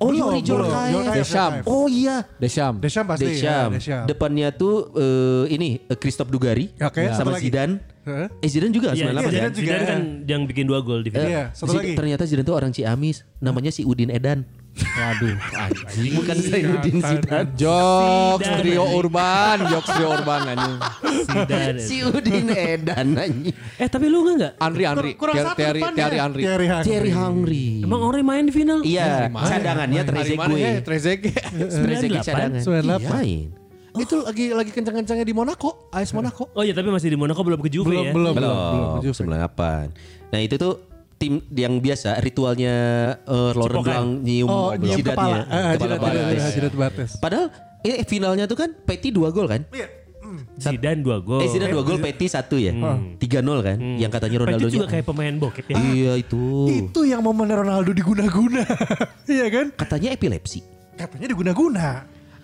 Speaker 3: 98. Oh,
Speaker 5: Belum,
Speaker 3: Yuri
Speaker 5: belum.
Speaker 3: Jorkaev.
Speaker 5: Jorkaev,
Speaker 2: Desham.
Speaker 5: Jorkaev.
Speaker 3: Oh iya.
Speaker 2: Desham.
Speaker 5: Desham pasti.
Speaker 3: Desham.
Speaker 5: ya, Desham.
Speaker 3: Depannya tuh eh, ini eh, Christoph Dugari
Speaker 5: Oke, satu
Speaker 3: sama
Speaker 5: lagi.
Speaker 3: Zidane.
Speaker 5: Heeh.
Speaker 3: Eh Zidane juga
Speaker 5: Zidane
Speaker 3: 98
Speaker 1: Iya,
Speaker 3: kan?
Speaker 1: Zidane,
Speaker 5: juga.
Speaker 1: Zidane kan yang bikin dua gol di
Speaker 5: Iya,
Speaker 1: final.
Speaker 5: satu
Speaker 3: Zidane-
Speaker 5: lagi.
Speaker 3: Ternyata Zidane tuh orang Ciamis, namanya si Udin Edan.
Speaker 2: Waduh. anjing.
Speaker 3: Bukan Zainuddin Zidane.
Speaker 2: Jokes
Speaker 1: Zidane,
Speaker 2: trio
Speaker 1: anjing.
Speaker 2: urban, jokes trio urban anjing.
Speaker 1: Zidane.
Speaker 3: Si Udin Edan anjing.
Speaker 1: Eh tapi lu enggak enggak?
Speaker 2: Andri Andri,
Speaker 5: Kurang
Speaker 2: Tiari
Speaker 5: satu
Speaker 2: Tiari
Speaker 5: depannya.
Speaker 2: Tiari Andri.
Speaker 5: Thierry Henry.
Speaker 3: Thierry Hungry.
Speaker 1: Emang Ori main di final?
Speaker 3: Iya,
Speaker 2: Dari mana?
Speaker 3: cadangannya
Speaker 2: Dari mana ya?
Speaker 3: Trezeguet.
Speaker 2: Trezeguet.
Speaker 3: Trezeguet
Speaker 1: 98.
Speaker 3: cadangan. Iya,
Speaker 5: 98.
Speaker 3: Iyain.
Speaker 2: Itu lagi lagi kencang-kencangnya di Monaco, AS Monaco.
Speaker 1: Oh iya tapi masih di Monaco belum ke Juve
Speaker 5: Belum,
Speaker 1: ya.
Speaker 5: belum, belum, belum.
Speaker 3: Belum, 98. Nah itu tuh tim yang biasa ritualnya eh, Laurent
Speaker 1: Cipokan.
Speaker 3: Blanc nyium
Speaker 5: Oh,
Speaker 3: belum.
Speaker 5: nyium kepala.
Speaker 3: jidatnya.
Speaker 5: Eh, jidat,
Speaker 3: kepala
Speaker 5: jidat,
Speaker 3: batas.
Speaker 5: jidat, jidat batas.
Speaker 3: Padahal eh, finalnya tuh kan Peti 2 gol kan?
Speaker 5: Iya.
Speaker 1: Zidane dua gol.
Speaker 3: Eh Zidane 2 gol, Peti 1 ya. 3-0 kan? Yang katanya
Speaker 1: Itu
Speaker 3: Ronaldo
Speaker 1: juga kayak pemain bokep
Speaker 3: *laughs*
Speaker 1: ya.
Speaker 3: Iya itu.
Speaker 5: Itu yang momen Ronaldo diguna-guna. *laughs* Iya kan?
Speaker 3: Katanya epilepsi.
Speaker 5: Katanya diguna-guna.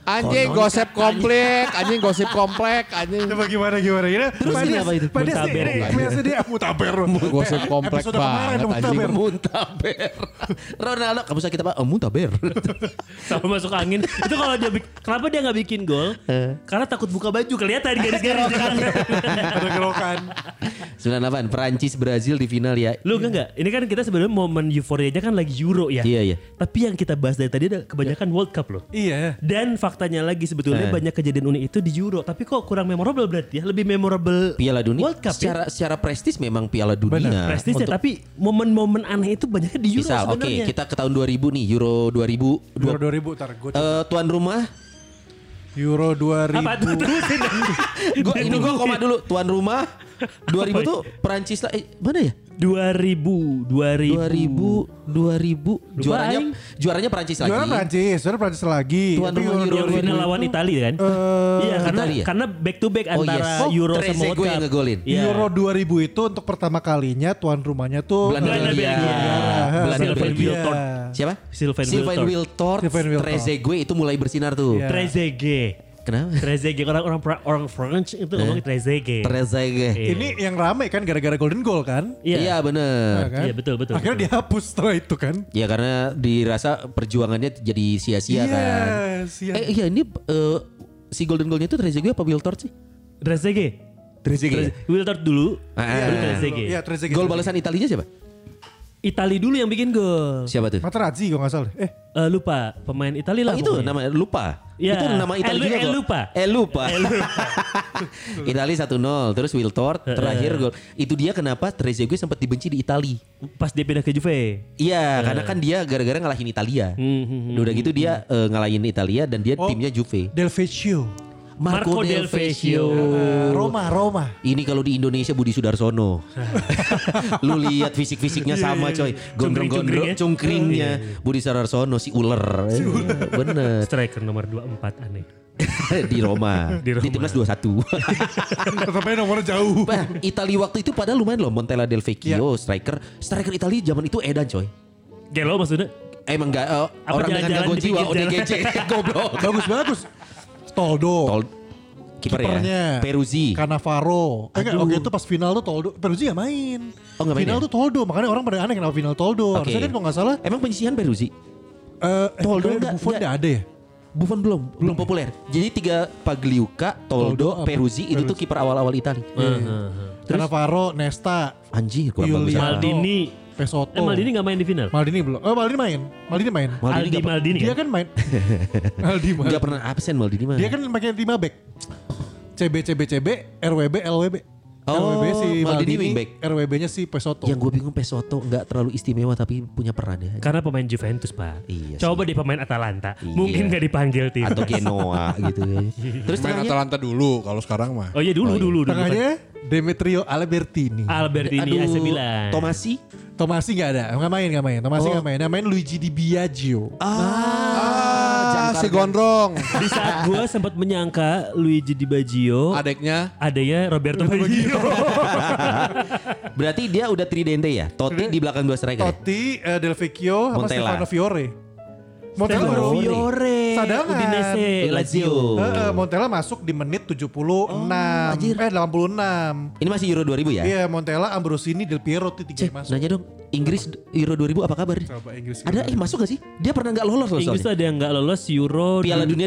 Speaker 2: Anjing gosip komplek, anjing gosip komplek, anjing
Speaker 5: Coba gimana gimana ya? Terus
Speaker 3: ini apa itu?
Speaker 5: Pada sih
Speaker 1: Mutaber.
Speaker 5: ini, biasa dia mutaber.
Speaker 2: Gosip komplek
Speaker 5: ah, Episode kemarin
Speaker 2: banget,
Speaker 5: mutaber.
Speaker 3: Muntaber. *laughs* Ronaldo kamu sakit apa? Oh, *laughs* Muntaber.
Speaker 1: Sama masuk angin. Itu kalau dia bik- kenapa dia nggak bikin gol?
Speaker 3: Eh.
Speaker 1: Karena takut buka baju kelihatan
Speaker 3: *laughs*
Speaker 1: garis-garis di tangan.
Speaker 5: *laughs* Ada kerokan.
Speaker 3: 98 Perancis Brazil di final ya.
Speaker 1: Lu enggak enggak? Ini kan kita sebenarnya momen euforianya kan lagi Euro ya.
Speaker 3: Iya, iya.
Speaker 1: Tapi yang kita bahas dari tadi ada kebanyakan World Cup loh.
Speaker 5: Iya.
Speaker 1: Dan faktanya lagi
Speaker 3: Eh.
Speaker 1: sebetulnya banyak kejadian unik itu di Euro, tapi kok kurang memorable berarti ya? Lebih memorable
Speaker 3: Piala Dunia
Speaker 1: World Cup
Speaker 3: secara secara prestis memang Piala Dunia.
Speaker 1: ya. Prestisnya,
Speaker 3: Untuk-
Speaker 1: tapi momen-momen aneh itu banyaknya di Euro
Speaker 3: misal oke
Speaker 1: sebenarnya.
Speaker 3: kita ke tahun 2000 nih Euro 2000
Speaker 5: Euro 2000 ntar gue coba.
Speaker 3: Eh, tuan rumah
Speaker 5: Euro
Speaker 1: Apa tuh
Speaker 5: 2000.
Speaker 1: terusin?
Speaker 3: *laughs* gua ini gua koma dulu tuan rumah 2000 tuh Perancis lah eh, mana ya
Speaker 1: 2000, 2000.
Speaker 3: 2000 2000 juaranya
Speaker 1: aing.
Speaker 3: juaranya Perancis lagi
Speaker 5: Juara Prancis, juara Prancis lagi.
Speaker 3: Tuan
Speaker 5: Tapi
Speaker 3: rumah Euro
Speaker 1: Yang final
Speaker 3: 2000
Speaker 1: lawan Italia kan? Iya karena
Speaker 3: Eh, Italia.
Speaker 1: karena back to back
Speaker 3: Oh, yes.
Speaker 1: antara
Speaker 3: Oh,
Speaker 1: Euro sama
Speaker 3: Trezeguet
Speaker 1: World Cup.
Speaker 3: yang ngegolin.
Speaker 1: Iya.
Speaker 5: Euro 2000 itu untuk pertama kalinya tuan rumahnya tuh eh,
Speaker 3: Belanda
Speaker 1: Belanda,
Speaker 3: Belgia
Speaker 1: Belgia.
Speaker 3: Belanda
Speaker 1: Belgia.
Speaker 3: Belgia Iya.
Speaker 1: Wiltord.
Speaker 3: siapa
Speaker 1: Sylvain
Speaker 3: Wiltord
Speaker 5: Sylvain Wiltord.
Speaker 3: Trezeguet itu mulai bersinar tuh
Speaker 5: Iya.
Speaker 1: Trezeguet.
Speaker 3: kenapa
Speaker 1: Trezeguet orang-orang pra- orang French itu ngomong Trezeguet.
Speaker 3: Trezeguet
Speaker 1: Iya.
Speaker 5: Ini yang rame kan gara-gara golden goal kan?
Speaker 3: iya bener
Speaker 5: kan?
Speaker 1: Iya, betul, betul,
Speaker 5: Akhirnya dihapus setelah itu kan?
Speaker 3: Ya karena dirasa perjuangannya jadi sia-sia kan.
Speaker 5: Iya.
Speaker 3: Eh iya ini eh, si golden goalnya itu Trezeguet apa Wiltord sih?
Speaker 1: Trezeguet.
Speaker 3: Trezeguet.
Speaker 1: Treze- Wiltord dulu,
Speaker 3: Iya. Ah.
Speaker 1: baru
Speaker 5: Iya,
Speaker 1: Trezeguet.
Speaker 5: Trezeguet.
Speaker 3: Gol balasan Italinya siapa?
Speaker 1: Itali dulu yang bikin gol.
Speaker 3: Siapa tuh?
Speaker 5: Materazzi kalau nggak salah. Eh,
Speaker 1: Eh, lupa pemain
Speaker 3: Oh,
Speaker 1: Itali lah.
Speaker 3: itu
Speaker 1: pokoknya.
Speaker 3: nama lupa.
Speaker 1: Iya.
Speaker 3: Itu nama Italia
Speaker 1: Eh, lu-
Speaker 3: juga
Speaker 1: eh,
Speaker 3: kok.
Speaker 1: lupa.
Speaker 3: Eh lupa. *laughs*
Speaker 1: Eh, lupa. Eh,
Speaker 3: Italia 1-0 terus Wiltord terakhir gol. Itu dia kenapa Trezeguet sempat dibenci di Itali.
Speaker 1: Pas dia pindah ke Juve. Eh.
Speaker 3: Iya, karena kan dia gara-gara ngalahin Italia.
Speaker 1: Hmm,
Speaker 3: Udah gitu dia eh, ngalahin Italia dan dia
Speaker 5: Oh.
Speaker 3: timnya Juve.
Speaker 5: Del Vecchio.
Speaker 1: Marco Del Vecchio.
Speaker 5: Eh, Roma, Roma.
Speaker 3: Ini kalau di Indonesia Budi
Speaker 1: *laughs*
Speaker 3: Sudarsono. Lu lihat fisik-fisiknya sama coy. Gondrong-gondrong
Speaker 1: Cungkring-cungkring
Speaker 3: cungkringnya
Speaker 1: ya. iya.
Speaker 3: Budi Sudarsono si ular. Eh,
Speaker 1: *laughs*
Speaker 3: Bener.
Speaker 1: Striker nomor 24 aneh.
Speaker 3: di Roma.
Speaker 1: Di Roma.
Speaker 3: Di timnas
Speaker 1: *laughs*
Speaker 3: 21. *laughs*
Speaker 5: Tapi nomornya jauh.
Speaker 3: Bah, Itali waktu itu padahal lumayan loh Montella Del Vecchio
Speaker 1: Iya.
Speaker 3: striker. Striker Itali zaman itu edan coy.
Speaker 1: Gelo maksudnya?
Speaker 3: Emang gak eh,
Speaker 1: Apa
Speaker 3: orang dengan
Speaker 1: jalan-jalan
Speaker 3: gangguan
Speaker 1: di
Speaker 3: jiwa
Speaker 1: pinggir
Speaker 3: ODGJ *laughs* goblok.
Speaker 5: bagus bagus. Toldo.
Speaker 3: Tol kiper ya.
Speaker 5: Kipernya. kan-
Speaker 3: Peruzzi.
Speaker 5: Cannavaro. Eh, enggak,
Speaker 3: Aduh.
Speaker 5: waktu itu pas final tuh Toldo. Peruzzi gak main.
Speaker 3: Oh, nggak main
Speaker 5: final
Speaker 3: ya?
Speaker 5: tuh Toldo. Makanya orang pada aneh kenapa final Toldo.
Speaker 3: Oke.
Speaker 5: Harusnya kan kalau gak salah.
Speaker 3: Emang penyisihan Peruzzi?
Speaker 5: eh, eh,
Speaker 3: Toldo nggak-
Speaker 5: Buffon
Speaker 3: nggak-
Speaker 5: nggak ada ya?
Speaker 3: Buffon belum, belum populer. Jadi tiga Pagliuca, Toldo,
Speaker 5: Toldo, apa?
Speaker 3: Peruzzi itu tuh kiper awal-awal Itali.
Speaker 5: Cannavaro, Nesta,
Speaker 3: Anjir, kurang
Speaker 5: Yulia.
Speaker 3: bagus.
Speaker 5: Iya.
Speaker 1: Maldini.
Speaker 5: Pesoto.
Speaker 3: Oh.
Speaker 1: Eh Maldini gak main di final?
Speaker 5: Maldini belum. Oh, Maldini main. Maldini main.
Speaker 3: Maldini
Speaker 1: Aldi
Speaker 3: nggak-
Speaker 1: Maldini
Speaker 5: Dia
Speaker 1: kan?
Speaker 5: kan
Speaker 3: *laughs*
Speaker 5: main. Aldi main.
Speaker 3: Gak pernah absen Maldini mah.
Speaker 5: Dia kan pakai 5 back. CB CB CB, RWB LWB.
Speaker 3: Oh,
Speaker 5: LWB si
Speaker 3: Maldini
Speaker 5: Maldini,
Speaker 3: wingback.
Speaker 5: RWB-nya si Pesoto.
Speaker 3: Yang gue bingung Pesoto nggak terlalu istimewa tapi punya peran ya.
Speaker 1: Karena pemain Juventus pak.
Speaker 3: Iya sih.
Speaker 1: Coba di pemain Atalanta.
Speaker 3: Iya.
Speaker 1: Mungkin gak dipanggil tim.
Speaker 3: Atau
Speaker 1: *laughs*
Speaker 3: Genoa gitu. ya. Terus
Speaker 2: Main
Speaker 3: tengahnya
Speaker 2: Atalanta dulu kalau sekarang mah.
Speaker 1: Oh iya dulu, dulu, dulu.
Speaker 5: Tengahnya Demetrio Albertini.
Speaker 1: Ah. Albertini AC Milan.
Speaker 3: Tomasi.
Speaker 5: Tomasi nggak ada, nggak main nggak main. Tomasi
Speaker 3: Oh.
Speaker 5: nggak main, yang main Luigi Di Biagio.
Speaker 2: Ah, si gondrong.
Speaker 1: Di
Speaker 3: *laughs*
Speaker 1: saat gue sempat menyangka Luigi Di Baggio
Speaker 2: *laughs* Adeknya
Speaker 1: adanya
Speaker 3: *laughs*
Speaker 1: Roberto Baggio.
Speaker 3: Berarti dia udah tridente ya. Totti di belakang dua striker. ya?
Speaker 5: Totti, eh, Del Vecchio, sama
Speaker 3: Montella.
Speaker 5: Stefano Fiore. Montella
Speaker 1: Stefano
Speaker 5: baru
Speaker 1: Fiore,
Speaker 5: Cadangan.
Speaker 1: Udinese, Lazio.
Speaker 5: Heeh, Montella masuk di menit 76
Speaker 3: Oh, anjir.
Speaker 5: eh 86.
Speaker 3: Ini masih Euro 2000 ya?
Speaker 5: Iya, Montella, Ambrosini, Del Piero itu tiga
Speaker 3: Cek,
Speaker 5: yang masuk.
Speaker 3: nanya dong, Inggris Euro 2000 apa kabar?
Speaker 5: Coba Inggris.
Speaker 3: Ada eh masuk gak sih? Dia pernah nggak lolos loh
Speaker 1: Inggris
Speaker 3: soalnya.
Speaker 1: tuh ada yang nggak lolos Euro
Speaker 3: Piala
Speaker 1: dan-
Speaker 3: Dunia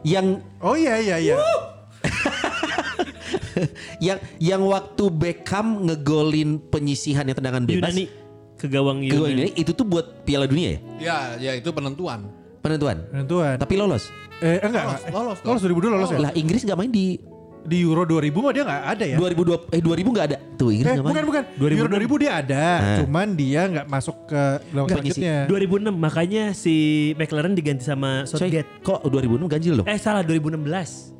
Speaker 3: 2002 yang
Speaker 5: Oh iya iya iya.
Speaker 3: yang yang waktu Beckham ngegolin penyisihan yang tendangan bebas
Speaker 1: Yunani ke gawang
Speaker 3: ke gawang
Speaker 1: Yunani.
Speaker 3: Yunani, itu tuh buat Piala Dunia ya
Speaker 2: Ya, ya itu penentuan.
Speaker 3: penentuan.
Speaker 5: Penentuan.
Speaker 3: Tapi lolos.
Speaker 5: Eh enggak, enggak.
Speaker 2: lolos,
Speaker 5: lolos. 2002 lolos ya?
Speaker 3: Lah Inggris nggak main di
Speaker 5: Di Euro 2000 mah dia enggak ada ya?
Speaker 3: 2002 eh 2000 nggak ada tuh Inggris
Speaker 5: Eh
Speaker 3: nggak main.
Speaker 5: bukan bukan. Euro 2000 dia ada, cuman dia enggak masuk ke lawan
Speaker 3: Enggak,
Speaker 5: selanjutnya.
Speaker 1: 2006 makanya si McLaren diganti sama
Speaker 3: Coy,
Speaker 1: Southgate.
Speaker 3: kok 2006 ganjil dong?
Speaker 1: Eh salah 2016.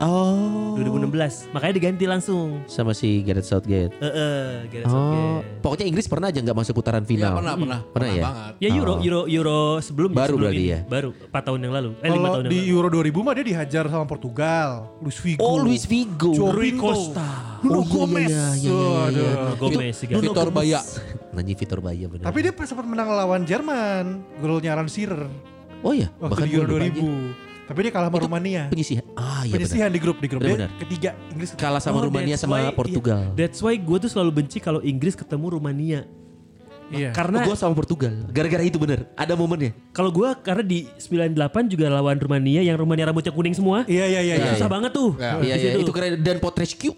Speaker 3: Oh.
Speaker 1: 2016. Makanya diganti langsung.
Speaker 3: Sama si Gareth Southgate.
Speaker 1: Eh eh Gareth
Speaker 3: Oh,
Speaker 1: Southgate.
Speaker 3: pokoknya Inggris pernah aja nggak masuk
Speaker 2: Ya,
Speaker 3: putaran final.
Speaker 2: pernah, pernah,
Speaker 3: Pernah ya?
Speaker 2: banget.
Speaker 1: Ya Euro, Euro, Euro sebelumnya.
Speaker 3: Baru
Speaker 1: sebelum
Speaker 3: berarti
Speaker 1: ini.
Speaker 3: ya?
Speaker 1: Baru 4 tahun yang lalu. Eh 5
Speaker 5: Kalau
Speaker 1: tahun yang
Speaker 5: di
Speaker 1: lalu.
Speaker 5: Euro 2000 mah dia dihajar sama Portugal, Luis Figo.
Speaker 3: Oh, Luis Figo.
Speaker 1: Rui
Speaker 5: Jorginho.
Speaker 1: Costa.
Speaker 5: Nuno
Speaker 3: Oh, iya,
Speaker 5: Gomez.
Speaker 3: iya, iya, iya, iya, iya.
Speaker 1: Nuno Gomez.
Speaker 3: Itu-
Speaker 1: tiga.
Speaker 3: Nuno
Speaker 2: Vitor
Speaker 3: Gomez.
Speaker 2: Baya.
Speaker 3: Nanya Vitor Baya bener.
Speaker 5: Tapi dia pas sempat menang lawan Jerman, golnya Aaron Shearer
Speaker 3: oh iya,
Speaker 5: waktu di
Speaker 3: gua
Speaker 5: Euro
Speaker 3: lupa
Speaker 5: 2000. Tapi dia kalah sama
Speaker 3: Itu
Speaker 5: Rumania.
Speaker 3: aja. Penyisihan. Ah iya benar.
Speaker 5: Penyisihan di grup di grup
Speaker 3: Benar,
Speaker 5: dia
Speaker 3: benar.
Speaker 5: ketiga Inggris ketiga.
Speaker 3: Kalah sama
Speaker 1: Oh,
Speaker 3: Rumania
Speaker 1: that's
Speaker 3: sama
Speaker 1: why-
Speaker 3: Portugal.
Speaker 1: iya. That's why gue tuh selalu benci kalau Inggris ketemu Rumania.
Speaker 5: Iya.
Speaker 1: Karena
Speaker 3: gue sama Portugal. Gara-gara itu bener. Ada momennya.
Speaker 1: kalau gue karena di 98 juga lawan Rumania yang Rumania rambutnya kuning semua.
Speaker 5: Iya iya iya. iya.
Speaker 1: Susah banget tuh.
Speaker 2: Ya.
Speaker 1: di
Speaker 3: Iya iya
Speaker 1: situ.
Speaker 3: itu keren dan Potrescu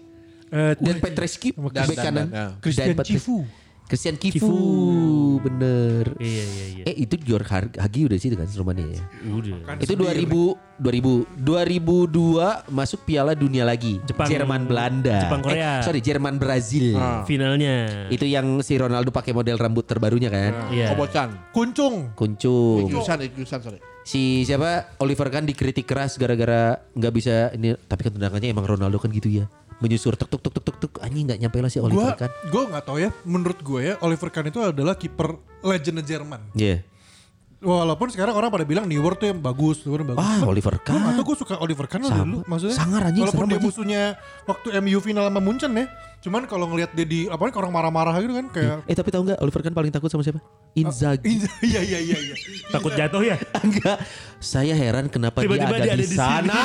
Speaker 5: Eh,
Speaker 3: dan Petrescu
Speaker 2: Dan-
Speaker 3: bek
Speaker 2: dan-
Speaker 3: kanan.
Speaker 2: dan, ya.
Speaker 5: Christian
Speaker 3: Dan Petres-
Speaker 5: Kifu.
Speaker 3: Christian Kifu.
Speaker 1: Kifu.
Speaker 3: bener.
Speaker 1: Iya iya iya.
Speaker 3: Eh itu George Har- Hagi udah sih kan Rumania ya.
Speaker 1: Udah.
Speaker 3: Itu 2000 2000 2002 masuk Piala Dunia lagi.
Speaker 1: Jepang-
Speaker 3: Jerman Belanda.
Speaker 1: Jepang Korea. Ah.
Speaker 3: Eh, sorry Jerman Brazil.
Speaker 1: Finalnya.
Speaker 3: Itu yang si Ronaldo pakai model rambut terbarunya kan.
Speaker 1: Iya.
Speaker 2: Kobocan.
Speaker 5: Kuncung.
Speaker 3: Kuncung.
Speaker 2: Ijusan, Ijusan, eh,
Speaker 3: *laughs*
Speaker 2: sorry.
Speaker 3: Si siapa Oliver kan dikritik keras gara-gara nggak bisa ini tapi kan tendangannya emang Ronaldo kan gitu ya. Menyusur tuk tuk tuk tuk tuk tuk anjing nggak nyampe lah si
Speaker 5: Gua
Speaker 3: Oliver kan.
Speaker 5: gua nggak tahu ya. Menurut gue ya Oliver Kahn itu adalah kiper legend Jerman.
Speaker 3: Iya.
Speaker 5: Walaupun sekarang orang pada bilang Neuer tuh yang bagus, Neuer yang bagus.
Speaker 3: Wah, Ah, Oliver
Speaker 5: Gue
Speaker 3: Kahn.
Speaker 5: gak tau gue suka Oliver Kahn lah
Speaker 3: Sama.
Speaker 5: dulu maksudnya.
Speaker 3: Sangar anjing,
Speaker 5: Walaupun
Speaker 3: serem
Speaker 5: dia
Speaker 3: anjing.
Speaker 5: musuhnya waktu MU final sama Munchen ya. Cuman kalau ngelihat dia di apa orang marah-marah gitu kan kayak
Speaker 3: Eh tapi tahu nggak Oliver kan paling takut sama siapa?
Speaker 1: Ah,
Speaker 3: Inzaghi.
Speaker 5: Iya iya iya iya. iya.
Speaker 1: Takut jatuh ya.
Speaker 3: Enggak, saya heran kenapa
Speaker 1: Tiba-tiba
Speaker 3: dia ada
Speaker 1: dia
Speaker 3: di
Speaker 1: ada di
Speaker 3: sana.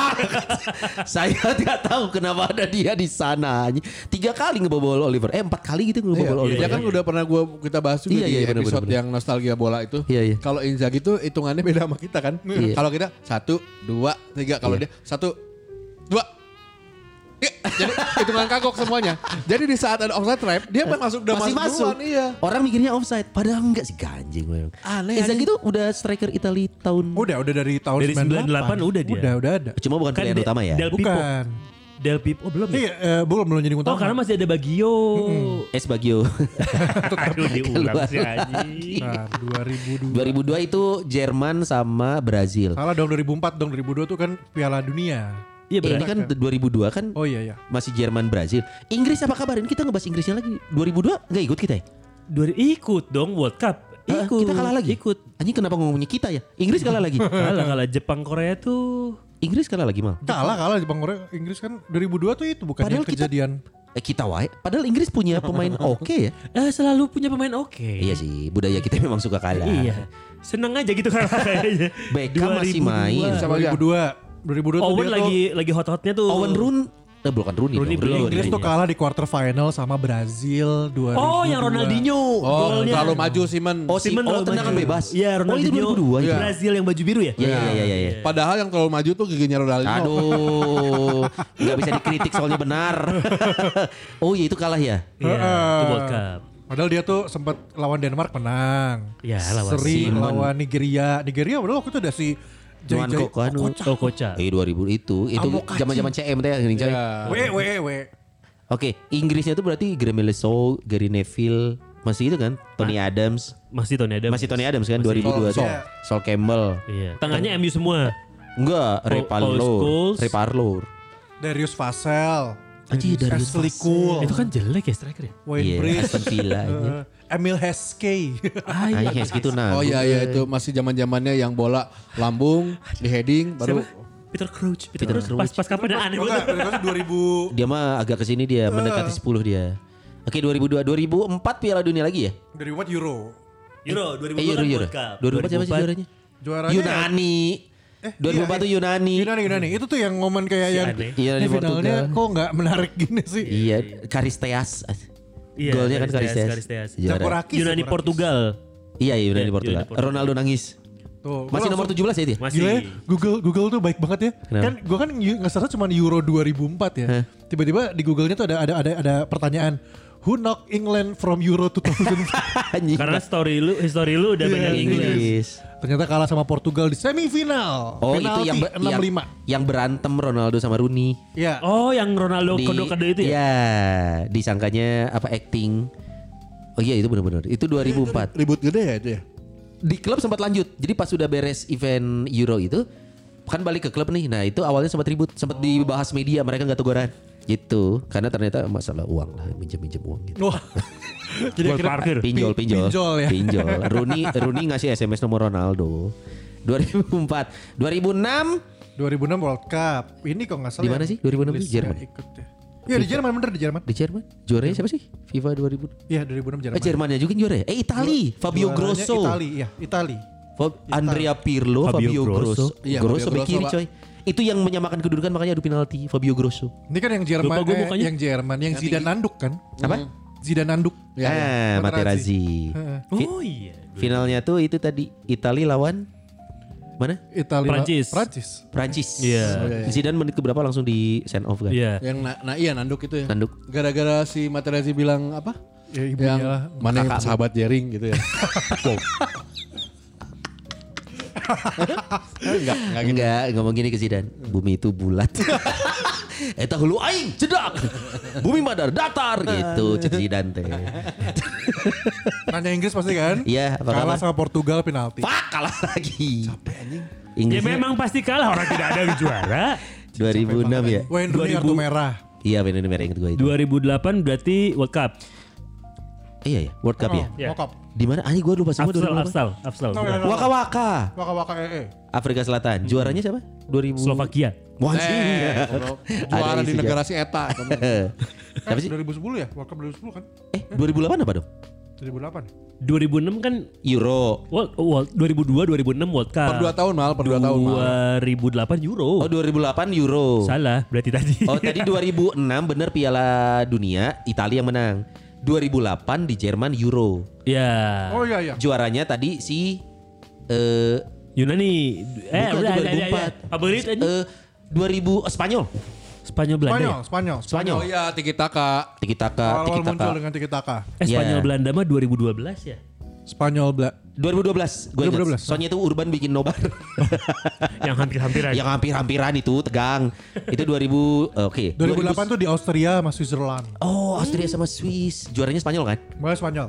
Speaker 3: *laughs* saya tidak tahu kenapa ada dia di sana. Tiga kali ngebobol Oliver, eh empat kali gitu
Speaker 1: Iya,
Speaker 3: ngebobol Oliver.
Speaker 2: Dia kan udah pernah gua kita bahas juga
Speaker 3: Iya,
Speaker 2: di
Speaker 3: iya, bener,
Speaker 2: episode
Speaker 3: bener,
Speaker 2: yang nostalgia bola itu.
Speaker 3: Iya, iya.
Speaker 2: Kalau Inzaghi itu hitungannya beda sama kita kan. *laughs*
Speaker 3: Iya.
Speaker 2: Kalau kita satu, dua, tiga. Kalau dia satu, dua. Iya, Jadi hitungan kagok semuanya.
Speaker 3: *laughs*
Speaker 2: Jadi di saat ada offside trap, dia masuk udah
Speaker 3: Eh,
Speaker 2: masuk,
Speaker 3: Masih masuk.
Speaker 2: duluan, iya.
Speaker 3: Orang mikirnya offside, padahal enggak sih ganjing memang.
Speaker 2: Aneh,
Speaker 3: Inzaghi itu udah striker Italia tahun
Speaker 5: Udah udah dari tahun
Speaker 1: Dari 98 udah dia.
Speaker 5: Udah udah ada.
Speaker 3: cuma bukan
Speaker 1: Kan
Speaker 3: pilihan
Speaker 1: Del-
Speaker 3: utama ya.
Speaker 1: Del Pipo.
Speaker 5: Bukan.
Speaker 1: Del Pipo oh, belum ya?
Speaker 5: Iya, eh, belum belum jadi utama.
Speaker 1: Oh karena masih ada Bagio.
Speaker 3: Es Bagio.
Speaker 1: *laughs* Aduh diulang
Speaker 3: keluar
Speaker 1: sih anjing.
Speaker 5: Nah, 2002.
Speaker 3: 2002 itu Jerman sama Brazil.
Speaker 5: Salah dong 2004 dong 2002 tuh kan Piala Dunia.
Speaker 1: Iya
Speaker 3: Eh, ini
Speaker 1: benar.
Speaker 3: kan 2002 kan
Speaker 5: Oh iya iya.
Speaker 3: masih Jerman Brazil. Inggris apa kabar? Ini kita ngebahas Inggrisnya lagi. 2002 nggak ikut kita ya?
Speaker 1: Dua- Ikut dong World Cup.
Speaker 3: Hah,
Speaker 1: Ikut.
Speaker 3: Eh, Kita kalah lagi.
Speaker 1: Ikut.
Speaker 3: Anjing kenapa ngomongnya kita ya? Inggris kalah *laughs* lagi.
Speaker 1: Kalah kalah Jepang Korea tuh.
Speaker 3: Inggris kalah lagi mal.
Speaker 5: Kalah kalah Jepang Korea Inggris kan 2002 tuh itu bukan
Speaker 3: Padahal kita-
Speaker 5: kejadian.
Speaker 3: Eh kita wae. Padahal Inggris punya *laughs* pemain oke ya.
Speaker 1: Eh selalu punya pemain oke.
Speaker 3: Iya sih, budaya kita memang suka kalah.
Speaker 1: Iya. Seneng aja gitu kalah kayaknya.
Speaker 3: Beckham masih
Speaker 1: 2002.
Speaker 3: main.
Speaker 2: Sama aja.
Speaker 5: 2002 2002 tuh
Speaker 1: Owen
Speaker 5: dia
Speaker 1: lagi lagi hot-hotnya tuh.
Speaker 3: Owen Roon, eh bukan Rooney,
Speaker 1: Rooney
Speaker 5: tuh
Speaker 3: dong,
Speaker 1: belum.
Speaker 5: Inggris tuh
Speaker 1: Iya.
Speaker 5: kalah di quarter final sama Brazil 2002.
Speaker 1: Oh yang Ronaldinho.
Speaker 2: Oh,
Speaker 1: golnya.
Speaker 2: terlalu maju Simon.
Speaker 3: Oh, si,
Speaker 1: Simon
Speaker 3: oh
Speaker 1: terlalu
Speaker 3: tendangan
Speaker 1: maju.
Speaker 3: bebas.
Speaker 1: Iya
Speaker 3: Oh,
Speaker 1: Ronaldinho.
Speaker 3: itu 2002 ya.
Speaker 1: Brazil yang baju biru ya?
Speaker 3: Iya, iya, iya, iya. iya.
Speaker 2: Padahal yang terlalu maju tuh giginya Ronaldinho.
Speaker 3: *laughs* Aduh, nggak bisa dikritik soalnya *laughs* benar. oh iya itu kalah ya.
Speaker 1: Iya. Itu World Cup.
Speaker 5: Padahal dia tuh sempat lawan Denmark menang.
Speaker 1: Ya, lawan
Speaker 5: Seri
Speaker 3: Simon.
Speaker 5: lawan Nigeria. Nigeria padahal waktu itu ada si
Speaker 3: Cuman
Speaker 5: Jai-Jai-
Speaker 3: kok kan.
Speaker 1: Oh kocak.
Speaker 3: Eh 2000 itu, itu
Speaker 5: Amokachi.
Speaker 3: zaman-zaman CM teh gini, coy.
Speaker 5: We we we.
Speaker 3: Oke, Inggrisnya itu berarti Graham Leso, Gary Neville, masih itu kan? Tony Adams.
Speaker 1: Masih Tony Adams.
Speaker 3: Masih Tony Adams kan 2002 tuh.
Speaker 5: Sol.
Speaker 3: Sol Campbell.
Speaker 1: Iya. Tangannya MU semua.
Speaker 3: Enggak, Ray
Speaker 1: Paul- Paul
Speaker 3: Parlour.
Speaker 1: Scholes.
Speaker 3: Ray Parlour.
Speaker 5: Darius Vassell.
Speaker 3: Anjir, Darius
Speaker 5: Ashley Cole.
Speaker 1: Itu kan jelek ya striker ya.
Speaker 5: Wayne
Speaker 3: Iya,
Speaker 5: Bridge.
Speaker 3: Aston Villa, anjir.
Speaker 5: Eh, *laughs* Emil Heskey.
Speaker 3: Anjing kayak segitu nah.
Speaker 2: Oh iya iya itu masih zaman zamannya yang bola lambung di heading baru
Speaker 1: Peter Crouch. Peter, Crouch. Pas pas kapan ya? aneh
Speaker 5: Oh,
Speaker 1: banget.
Speaker 5: enggak, Darius 2000
Speaker 3: Dia mah agak kesini
Speaker 5: Ah.
Speaker 3: dia mendekati 10 dia. Oke 2002 2004 Piala Dunia lagi ya?
Speaker 5: 2004 Euro.
Speaker 1: Euro 2004
Speaker 3: Eh, Euro, Euro.
Speaker 1: kan World Cup.
Speaker 3: 2004 siapa sih juaranya?
Speaker 5: Juaranya-
Speaker 3: Yunani.
Speaker 5: Eh,
Speaker 3: 2004 tuh
Speaker 5: iya,
Speaker 3: Yunani.
Speaker 5: Yunani Yunani itu tuh yang momen kayak yang
Speaker 1: aneh.
Speaker 3: Iya,
Speaker 5: ini
Speaker 3: di
Speaker 5: finalnya
Speaker 3: Portugal.
Speaker 5: kok nggak menarik gini sih.
Speaker 3: Iya, Karisteas.
Speaker 1: Iya,
Speaker 3: Golnya kan
Speaker 1: Karisteas,
Speaker 3: Karisteas.
Speaker 1: Karisteas.
Speaker 3: Juara.
Speaker 5: Campur- Rakis,
Speaker 1: Yunani
Speaker 5: Rakis.
Speaker 1: Portugal.
Speaker 3: Iya, iya, Yunani
Speaker 1: Iya,
Speaker 3: Portugal.
Speaker 1: Yunani Portugal.
Speaker 3: Ronaldo nangis.
Speaker 5: Tuh, gua
Speaker 3: Masih nomor
Speaker 5: langsung-
Speaker 3: 17 ya itu? ya?
Speaker 1: Masih.
Speaker 5: Gila ya, Google Google tuh baik banget ya.
Speaker 3: Kenapa?
Speaker 5: Kan gua kan yu- nggak salah cuma Euro 2004 ya.
Speaker 3: Heh.
Speaker 5: Tiba-tiba di Google-nya tuh ada ada ada ada pertanyaan Who knocked England from Euro 2004?
Speaker 3: *laughs* Anjing.
Speaker 1: Karena story lu, history lu udah
Speaker 5: Iya,
Speaker 1: banyak Inggris.
Speaker 3: Inggris.
Speaker 5: Ternyata kalah sama Portugal di semifinal.
Speaker 3: Oh,
Speaker 5: Penalti
Speaker 3: itu yang, ber- yang
Speaker 5: 65.
Speaker 3: yang berantem Ronaldo sama Rooney.
Speaker 5: Iya.
Speaker 1: Oh, yang Ronaldo kode-kode itu ya?
Speaker 3: Iya, disangkanya apa acting. Oh iya itu benar-benar. Itu 2004.
Speaker 2: Ribut gede ya itu ya?
Speaker 3: Di klub sempat lanjut. Jadi pas sudah beres event Euro itu kan balik ke klub nih. Nah, itu awalnya sempat ribut,
Speaker 5: Oh.
Speaker 3: sempat dibahas media, mereka nggak teguran. Gitu. Karena ternyata masalah uang lah, minjem-minjem uang gitu.
Speaker 5: Wah. Jadi
Speaker 1: Gol
Speaker 5: akhirnya-
Speaker 1: parkir.
Speaker 3: Pinjol,
Speaker 5: Pin-
Speaker 3: pinjol.
Speaker 5: pinjol ya. *laughs*
Speaker 3: Pinjol. Rooney Rooney ngasih SMS nomor Ronaldo. 2004, 2006
Speaker 5: 2006 World Cup. Ini kok nggak salah.
Speaker 3: Di mana
Speaker 5: ya,
Speaker 3: sih? 2006
Speaker 5: Inggris
Speaker 3: di Jerman?
Speaker 5: nggak ikut ya. Iya di Jerman bener di Jerman.
Speaker 3: di Jerman. Juaranya siapa sih? FIFA 2000.
Speaker 5: Iya 2006 Jerman.
Speaker 3: Eh Jermannya juga yang juara ya? Eh Itali, Fabio
Speaker 5: Juaranya
Speaker 3: Grosso.
Speaker 5: Itali, iya, Itali.
Speaker 3: Fa- Andrea Pirlo, Fabio,
Speaker 1: Fabio
Speaker 3: Grosso.
Speaker 1: Grosso.
Speaker 2: Iya,
Speaker 3: Grosso
Speaker 2: Fabio
Speaker 3: bek
Speaker 2: Grosso,
Speaker 3: kiri
Speaker 2: Pak.
Speaker 3: coy. Itu yang menyamakan kedudukan makanya adu penalti Fabio Grosso.
Speaker 5: Ini kan yang Jerman,
Speaker 1: Lupa gua
Speaker 5: eh,
Speaker 1: mukanya.
Speaker 5: yang Jerman, yang Zidane nanduk kan?
Speaker 3: Apa?
Speaker 5: Zidane nanduk.
Speaker 2: Iya,
Speaker 3: ah,
Speaker 2: ya,
Speaker 3: Materazzi.
Speaker 5: Heeh.
Speaker 3: Fi-
Speaker 1: Oh iya.
Speaker 3: Finalnya tuh itu tadi Itali lawan mana?
Speaker 5: Italia.
Speaker 1: Prancis.
Speaker 5: Prancis.
Speaker 3: Prancis.
Speaker 1: Iya.
Speaker 3: Zidane menit keberapa langsung di send off kan?
Speaker 1: Iya.
Speaker 2: Yang na, nah iya Nanduk itu ya.
Speaker 3: Nanduk.
Speaker 2: Gara-gara si Materazzi bilang apa?
Speaker 5: Ya, ibunya
Speaker 2: yang
Speaker 5: lah.
Speaker 2: mana yang sahabat jaring gitu
Speaker 3: *laughs*
Speaker 2: ya.
Speaker 3: Eh,
Speaker 2: enggak, enggak gitu.
Speaker 3: Enggak, ngomong gini ke Zidane. Bumi itu bulat. Eta hulu aing, cedak. Bumi madar datar gitu, cek Zidane teh.
Speaker 5: Nanya Inggris pasti kan?
Speaker 3: Iya, apa
Speaker 5: Kalah
Speaker 3: kabar?
Speaker 5: sama Portugal penalti.
Speaker 3: Pak kalah lagi. Capek anjing.
Speaker 1: Ya
Speaker 3: Inggris
Speaker 1: memang pasti kalah orang tidak ada yang juara.
Speaker 3: 2006 ya.
Speaker 5: Wayne Rooney
Speaker 1: 2000.
Speaker 5: kartu merah.
Speaker 3: Iya benar merah ingat gue itu.
Speaker 1: 2008 berarti World Cup.
Speaker 3: Iya ya, World Cup ya.
Speaker 5: Oh,
Speaker 1: Iya.
Speaker 5: Mokap.
Speaker 3: Di mana? Anjing gue lupa semua
Speaker 1: Afsal,
Speaker 3: 2008.
Speaker 1: Afsal, Afsal.
Speaker 5: No,
Speaker 1: bukan.
Speaker 5: no, no.
Speaker 3: Waka Waka,
Speaker 5: Waka-waka E ee.
Speaker 3: Afrika Selatan. Juaranya siapa? 2000.
Speaker 1: Slovakia.
Speaker 2: *laughs*
Speaker 3: Wah, anjing.
Speaker 2: Eh, kalau juara
Speaker 3: Ada
Speaker 2: di
Speaker 3: isi *laughs*
Speaker 2: negara si Eta. kamu.
Speaker 5: Eh,
Speaker 3: Apa sih?
Speaker 5: 2010 ya? World Cup 2010 kan?
Speaker 3: Eh, 2008 apa dong?
Speaker 5: 2008.
Speaker 1: 2006 kan
Speaker 3: Euro.
Speaker 1: World, oh, World 2002 2006 World Cup.
Speaker 2: per 2 tahun mal, per 2 tahun mal.
Speaker 1: 2008
Speaker 3: Oh,
Speaker 1: Euro.
Speaker 3: 2008 Euro.
Speaker 1: Salah berarti tadi.
Speaker 3: Oh, tadi 2006 bener Piala Dunia, Italia yang menang. 2008 di Jerman Euro.
Speaker 1: *laughs* ya.
Speaker 3: Ah.
Speaker 5: Oh iya iya.
Speaker 3: Juaranya tadi si eh
Speaker 1: Yunani. Eh,
Speaker 3: bukan,
Speaker 1: udah,
Speaker 3: itu
Speaker 1: udah, udah, udah.
Speaker 3: 2004.
Speaker 1: Favorit aja.
Speaker 3: Eh, 2000 eh, Spanyol.
Speaker 1: Spanyol Belanda.
Speaker 5: Spanyol,
Speaker 1: ya?
Speaker 5: Spanyol.
Speaker 3: Spanyol. Ah,
Speaker 2: Oh iya, Tiki Taka.
Speaker 3: Tiki taka,
Speaker 5: Awal
Speaker 3: tiki
Speaker 5: muncul
Speaker 3: taka.
Speaker 5: dengan Tiki Taka.
Speaker 1: Eh, Spanyol
Speaker 3: Iya.
Speaker 1: Belanda mah 2012 ya.
Speaker 5: Spanyol Bla.
Speaker 3: 2012, gue ingat.
Speaker 5: 2012.
Speaker 3: Soalnya itu Urban bikin
Speaker 5: *laughs*
Speaker 3: nobar.
Speaker 1: Yang hampir-hampir
Speaker 5: Eh.
Speaker 1: aja.
Speaker 3: yang hampir-hampiran itu tegang. Itu 2000 eh, oke.
Speaker 5: 2008 tuh di Austria sama Switzerland.
Speaker 3: 2000 Oh, Austria sama Swiss. Juaranya Spanyol kan?
Speaker 5: Mulai Spanyol.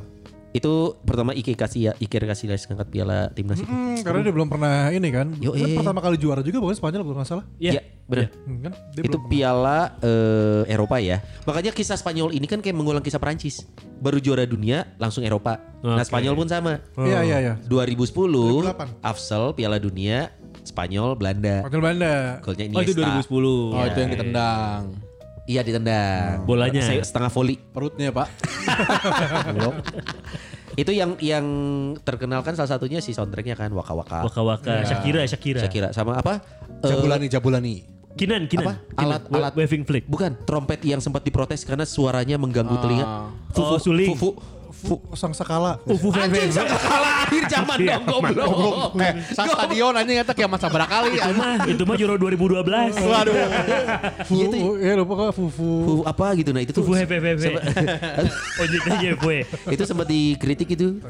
Speaker 3: Itu pertama Iker Casillas Iker Casillas ngangkat piala timnas itu.
Speaker 5: Hmm, karena dia belum pernah ini kan.
Speaker 3: Yo,
Speaker 5: Kan
Speaker 3: eh.
Speaker 5: pertama kali juara juga bukan Spanyol kalau nggak salah.
Speaker 1: Iya.
Speaker 3: Iya, benar.
Speaker 5: Hmm, kan? Dia
Speaker 3: Itu
Speaker 5: belum pernah.
Speaker 3: piala eh, Eropa ya. Makanya kisah Spanyol ini kan kayak mengulang kisah Perancis. Baru juara dunia langsung Eropa. Nah,
Speaker 1: Oke. Oh.
Speaker 3: Spanyol pun sama.
Speaker 5: Iya iya iya.
Speaker 3: 2010
Speaker 5: 2008.
Speaker 3: Afsel Piala Dunia Spanyol Belanda.
Speaker 5: Spanyol Belanda.
Speaker 3: Golnya
Speaker 1: Oh, itu
Speaker 3: Iniesta.
Speaker 1: 2010.
Speaker 2: Oh, itu yang ditendang.
Speaker 3: Iya ditendang.
Speaker 1: Bolanya.
Speaker 3: Saya setengah volley.
Speaker 2: Perutnya, Pak.
Speaker 3: *laughs* itu yang yang terkenal kan salah satunya si soundtracknya kan Waka Waka.
Speaker 1: Waka Waka, Ya. Shakira, Shakira,
Speaker 3: Saya kira sama apa? Eh,
Speaker 2: Jabulani, Jabulani.
Speaker 1: Kinan,
Speaker 3: apa?
Speaker 1: Kinan. Kinan.
Speaker 3: Alat
Speaker 1: Wa-
Speaker 3: alat
Speaker 1: waving flick.
Speaker 3: Bukan trompet yang sempat diprotes karena suaranya
Speaker 5: Ah.
Speaker 3: mengganggu telinga.
Speaker 1: Oh, suling.
Speaker 3: Fufu.
Speaker 5: Fu- Sang Sakala.
Speaker 1: Ufu
Speaker 5: Iya.
Speaker 3: Anjing sama kalah akhir zaman dong goblok.
Speaker 2: Eh, sa- stadion anjing eta kiamat sabra kali.
Speaker 1: Itu mah, itu mah Euro 2012.
Speaker 2: Waduh.
Speaker 5: Fu,
Speaker 3: Iya tuh.
Speaker 5: eh lupa kok Fufu.
Speaker 3: Fufu apa gitu nah itu tuh.
Speaker 1: Fufu Oh, FFV. *laughs*
Speaker 3: sempat-
Speaker 1: Ojek aja gue.
Speaker 3: itu sempat dikritik itu.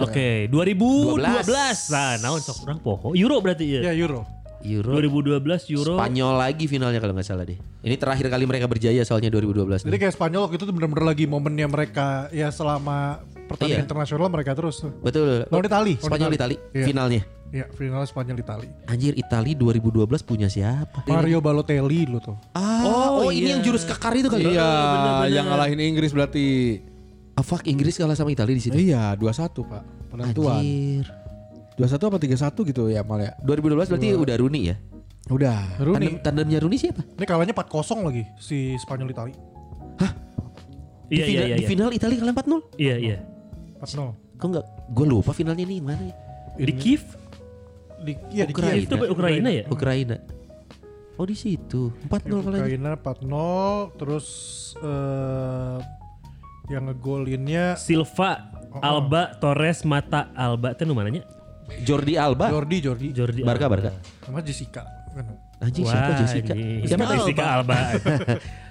Speaker 3: ya.
Speaker 1: Oke, 2012.
Speaker 3: 12.
Speaker 1: Nah, naon sok kurang poho. Euro berarti
Speaker 5: Ya
Speaker 1: ya.
Speaker 5: Euro.
Speaker 3: Iya, Euro
Speaker 1: 2012 Euro.
Speaker 3: Spanyol lagi finalnya kalau nggak salah deh. Ini terakhir kali mereka berjaya soalnya 2012.
Speaker 5: Jadi kayak Spanyol waktu itu tuh bener-bener lagi momennya mereka ya selama pertandingan
Speaker 3: Iya.
Speaker 5: internasional mereka terus tuh.
Speaker 3: Betul.
Speaker 5: Lawan Itali.
Speaker 3: Spanyol Itali
Speaker 5: Iya.
Speaker 3: finalnya.
Speaker 5: Iya, final Spanyol Itali.
Speaker 3: Anjir Itali 2012 punya siapa?
Speaker 5: Mario Balotelli lu tuh.
Speaker 3: Ah, oh, ini yang jurus kekar itu kan?
Speaker 2: Iya, yang ngalahin Inggris berarti.
Speaker 3: Ah, fuck Inggris kalah sama Itali di situ.
Speaker 2: Iya, 21, Pak. Penentuan.
Speaker 3: Anjir.
Speaker 2: 21 apa 31 gitu ya, Mal ya.
Speaker 3: 2012 berarti udah Rooney ya?
Speaker 2: Udah.
Speaker 5: Rooney.
Speaker 3: Tandem, tandemnya Rooney siapa?
Speaker 5: Ini kalahnya 4-0 lagi si Spanyol Itali.
Speaker 3: Di,
Speaker 1: Iya, iya,
Speaker 3: final,
Speaker 1: iya,
Speaker 3: di
Speaker 1: iya.
Speaker 3: final Itali kalah 4-0.
Speaker 1: Iya, iya.
Speaker 5: 4-0.
Speaker 3: kok nggak gue lupa finalnya nih mana ya?
Speaker 1: Di Kiev?
Speaker 5: Di, ya, di
Speaker 3: Ukraina.
Speaker 5: Kiev.
Speaker 1: Itu Ukraina ya?
Speaker 3: Ukraina. Oh di situ 4-0 kalau
Speaker 5: Ukraina 4-0 terus eh, yang ngegolinnya
Speaker 1: Silva,
Speaker 3: Oh,
Speaker 1: Alba, Torres, Mata, Alba. Itu namanya?
Speaker 3: Jordi Alba,
Speaker 5: Jordi Jordi
Speaker 1: Jordi
Speaker 3: Barca
Speaker 1: Alba.
Speaker 3: Barca.
Speaker 5: sama Jessica kan.
Speaker 3: Anjing
Speaker 1: Wah,
Speaker 3: siapa Jessica?
Speaker 1: ini.
Speaker 3: Siapa
Speaker 5: Alba.
Speaker 1: Jessica
Speaker 3: *laughs*
Speaker 1: Alba.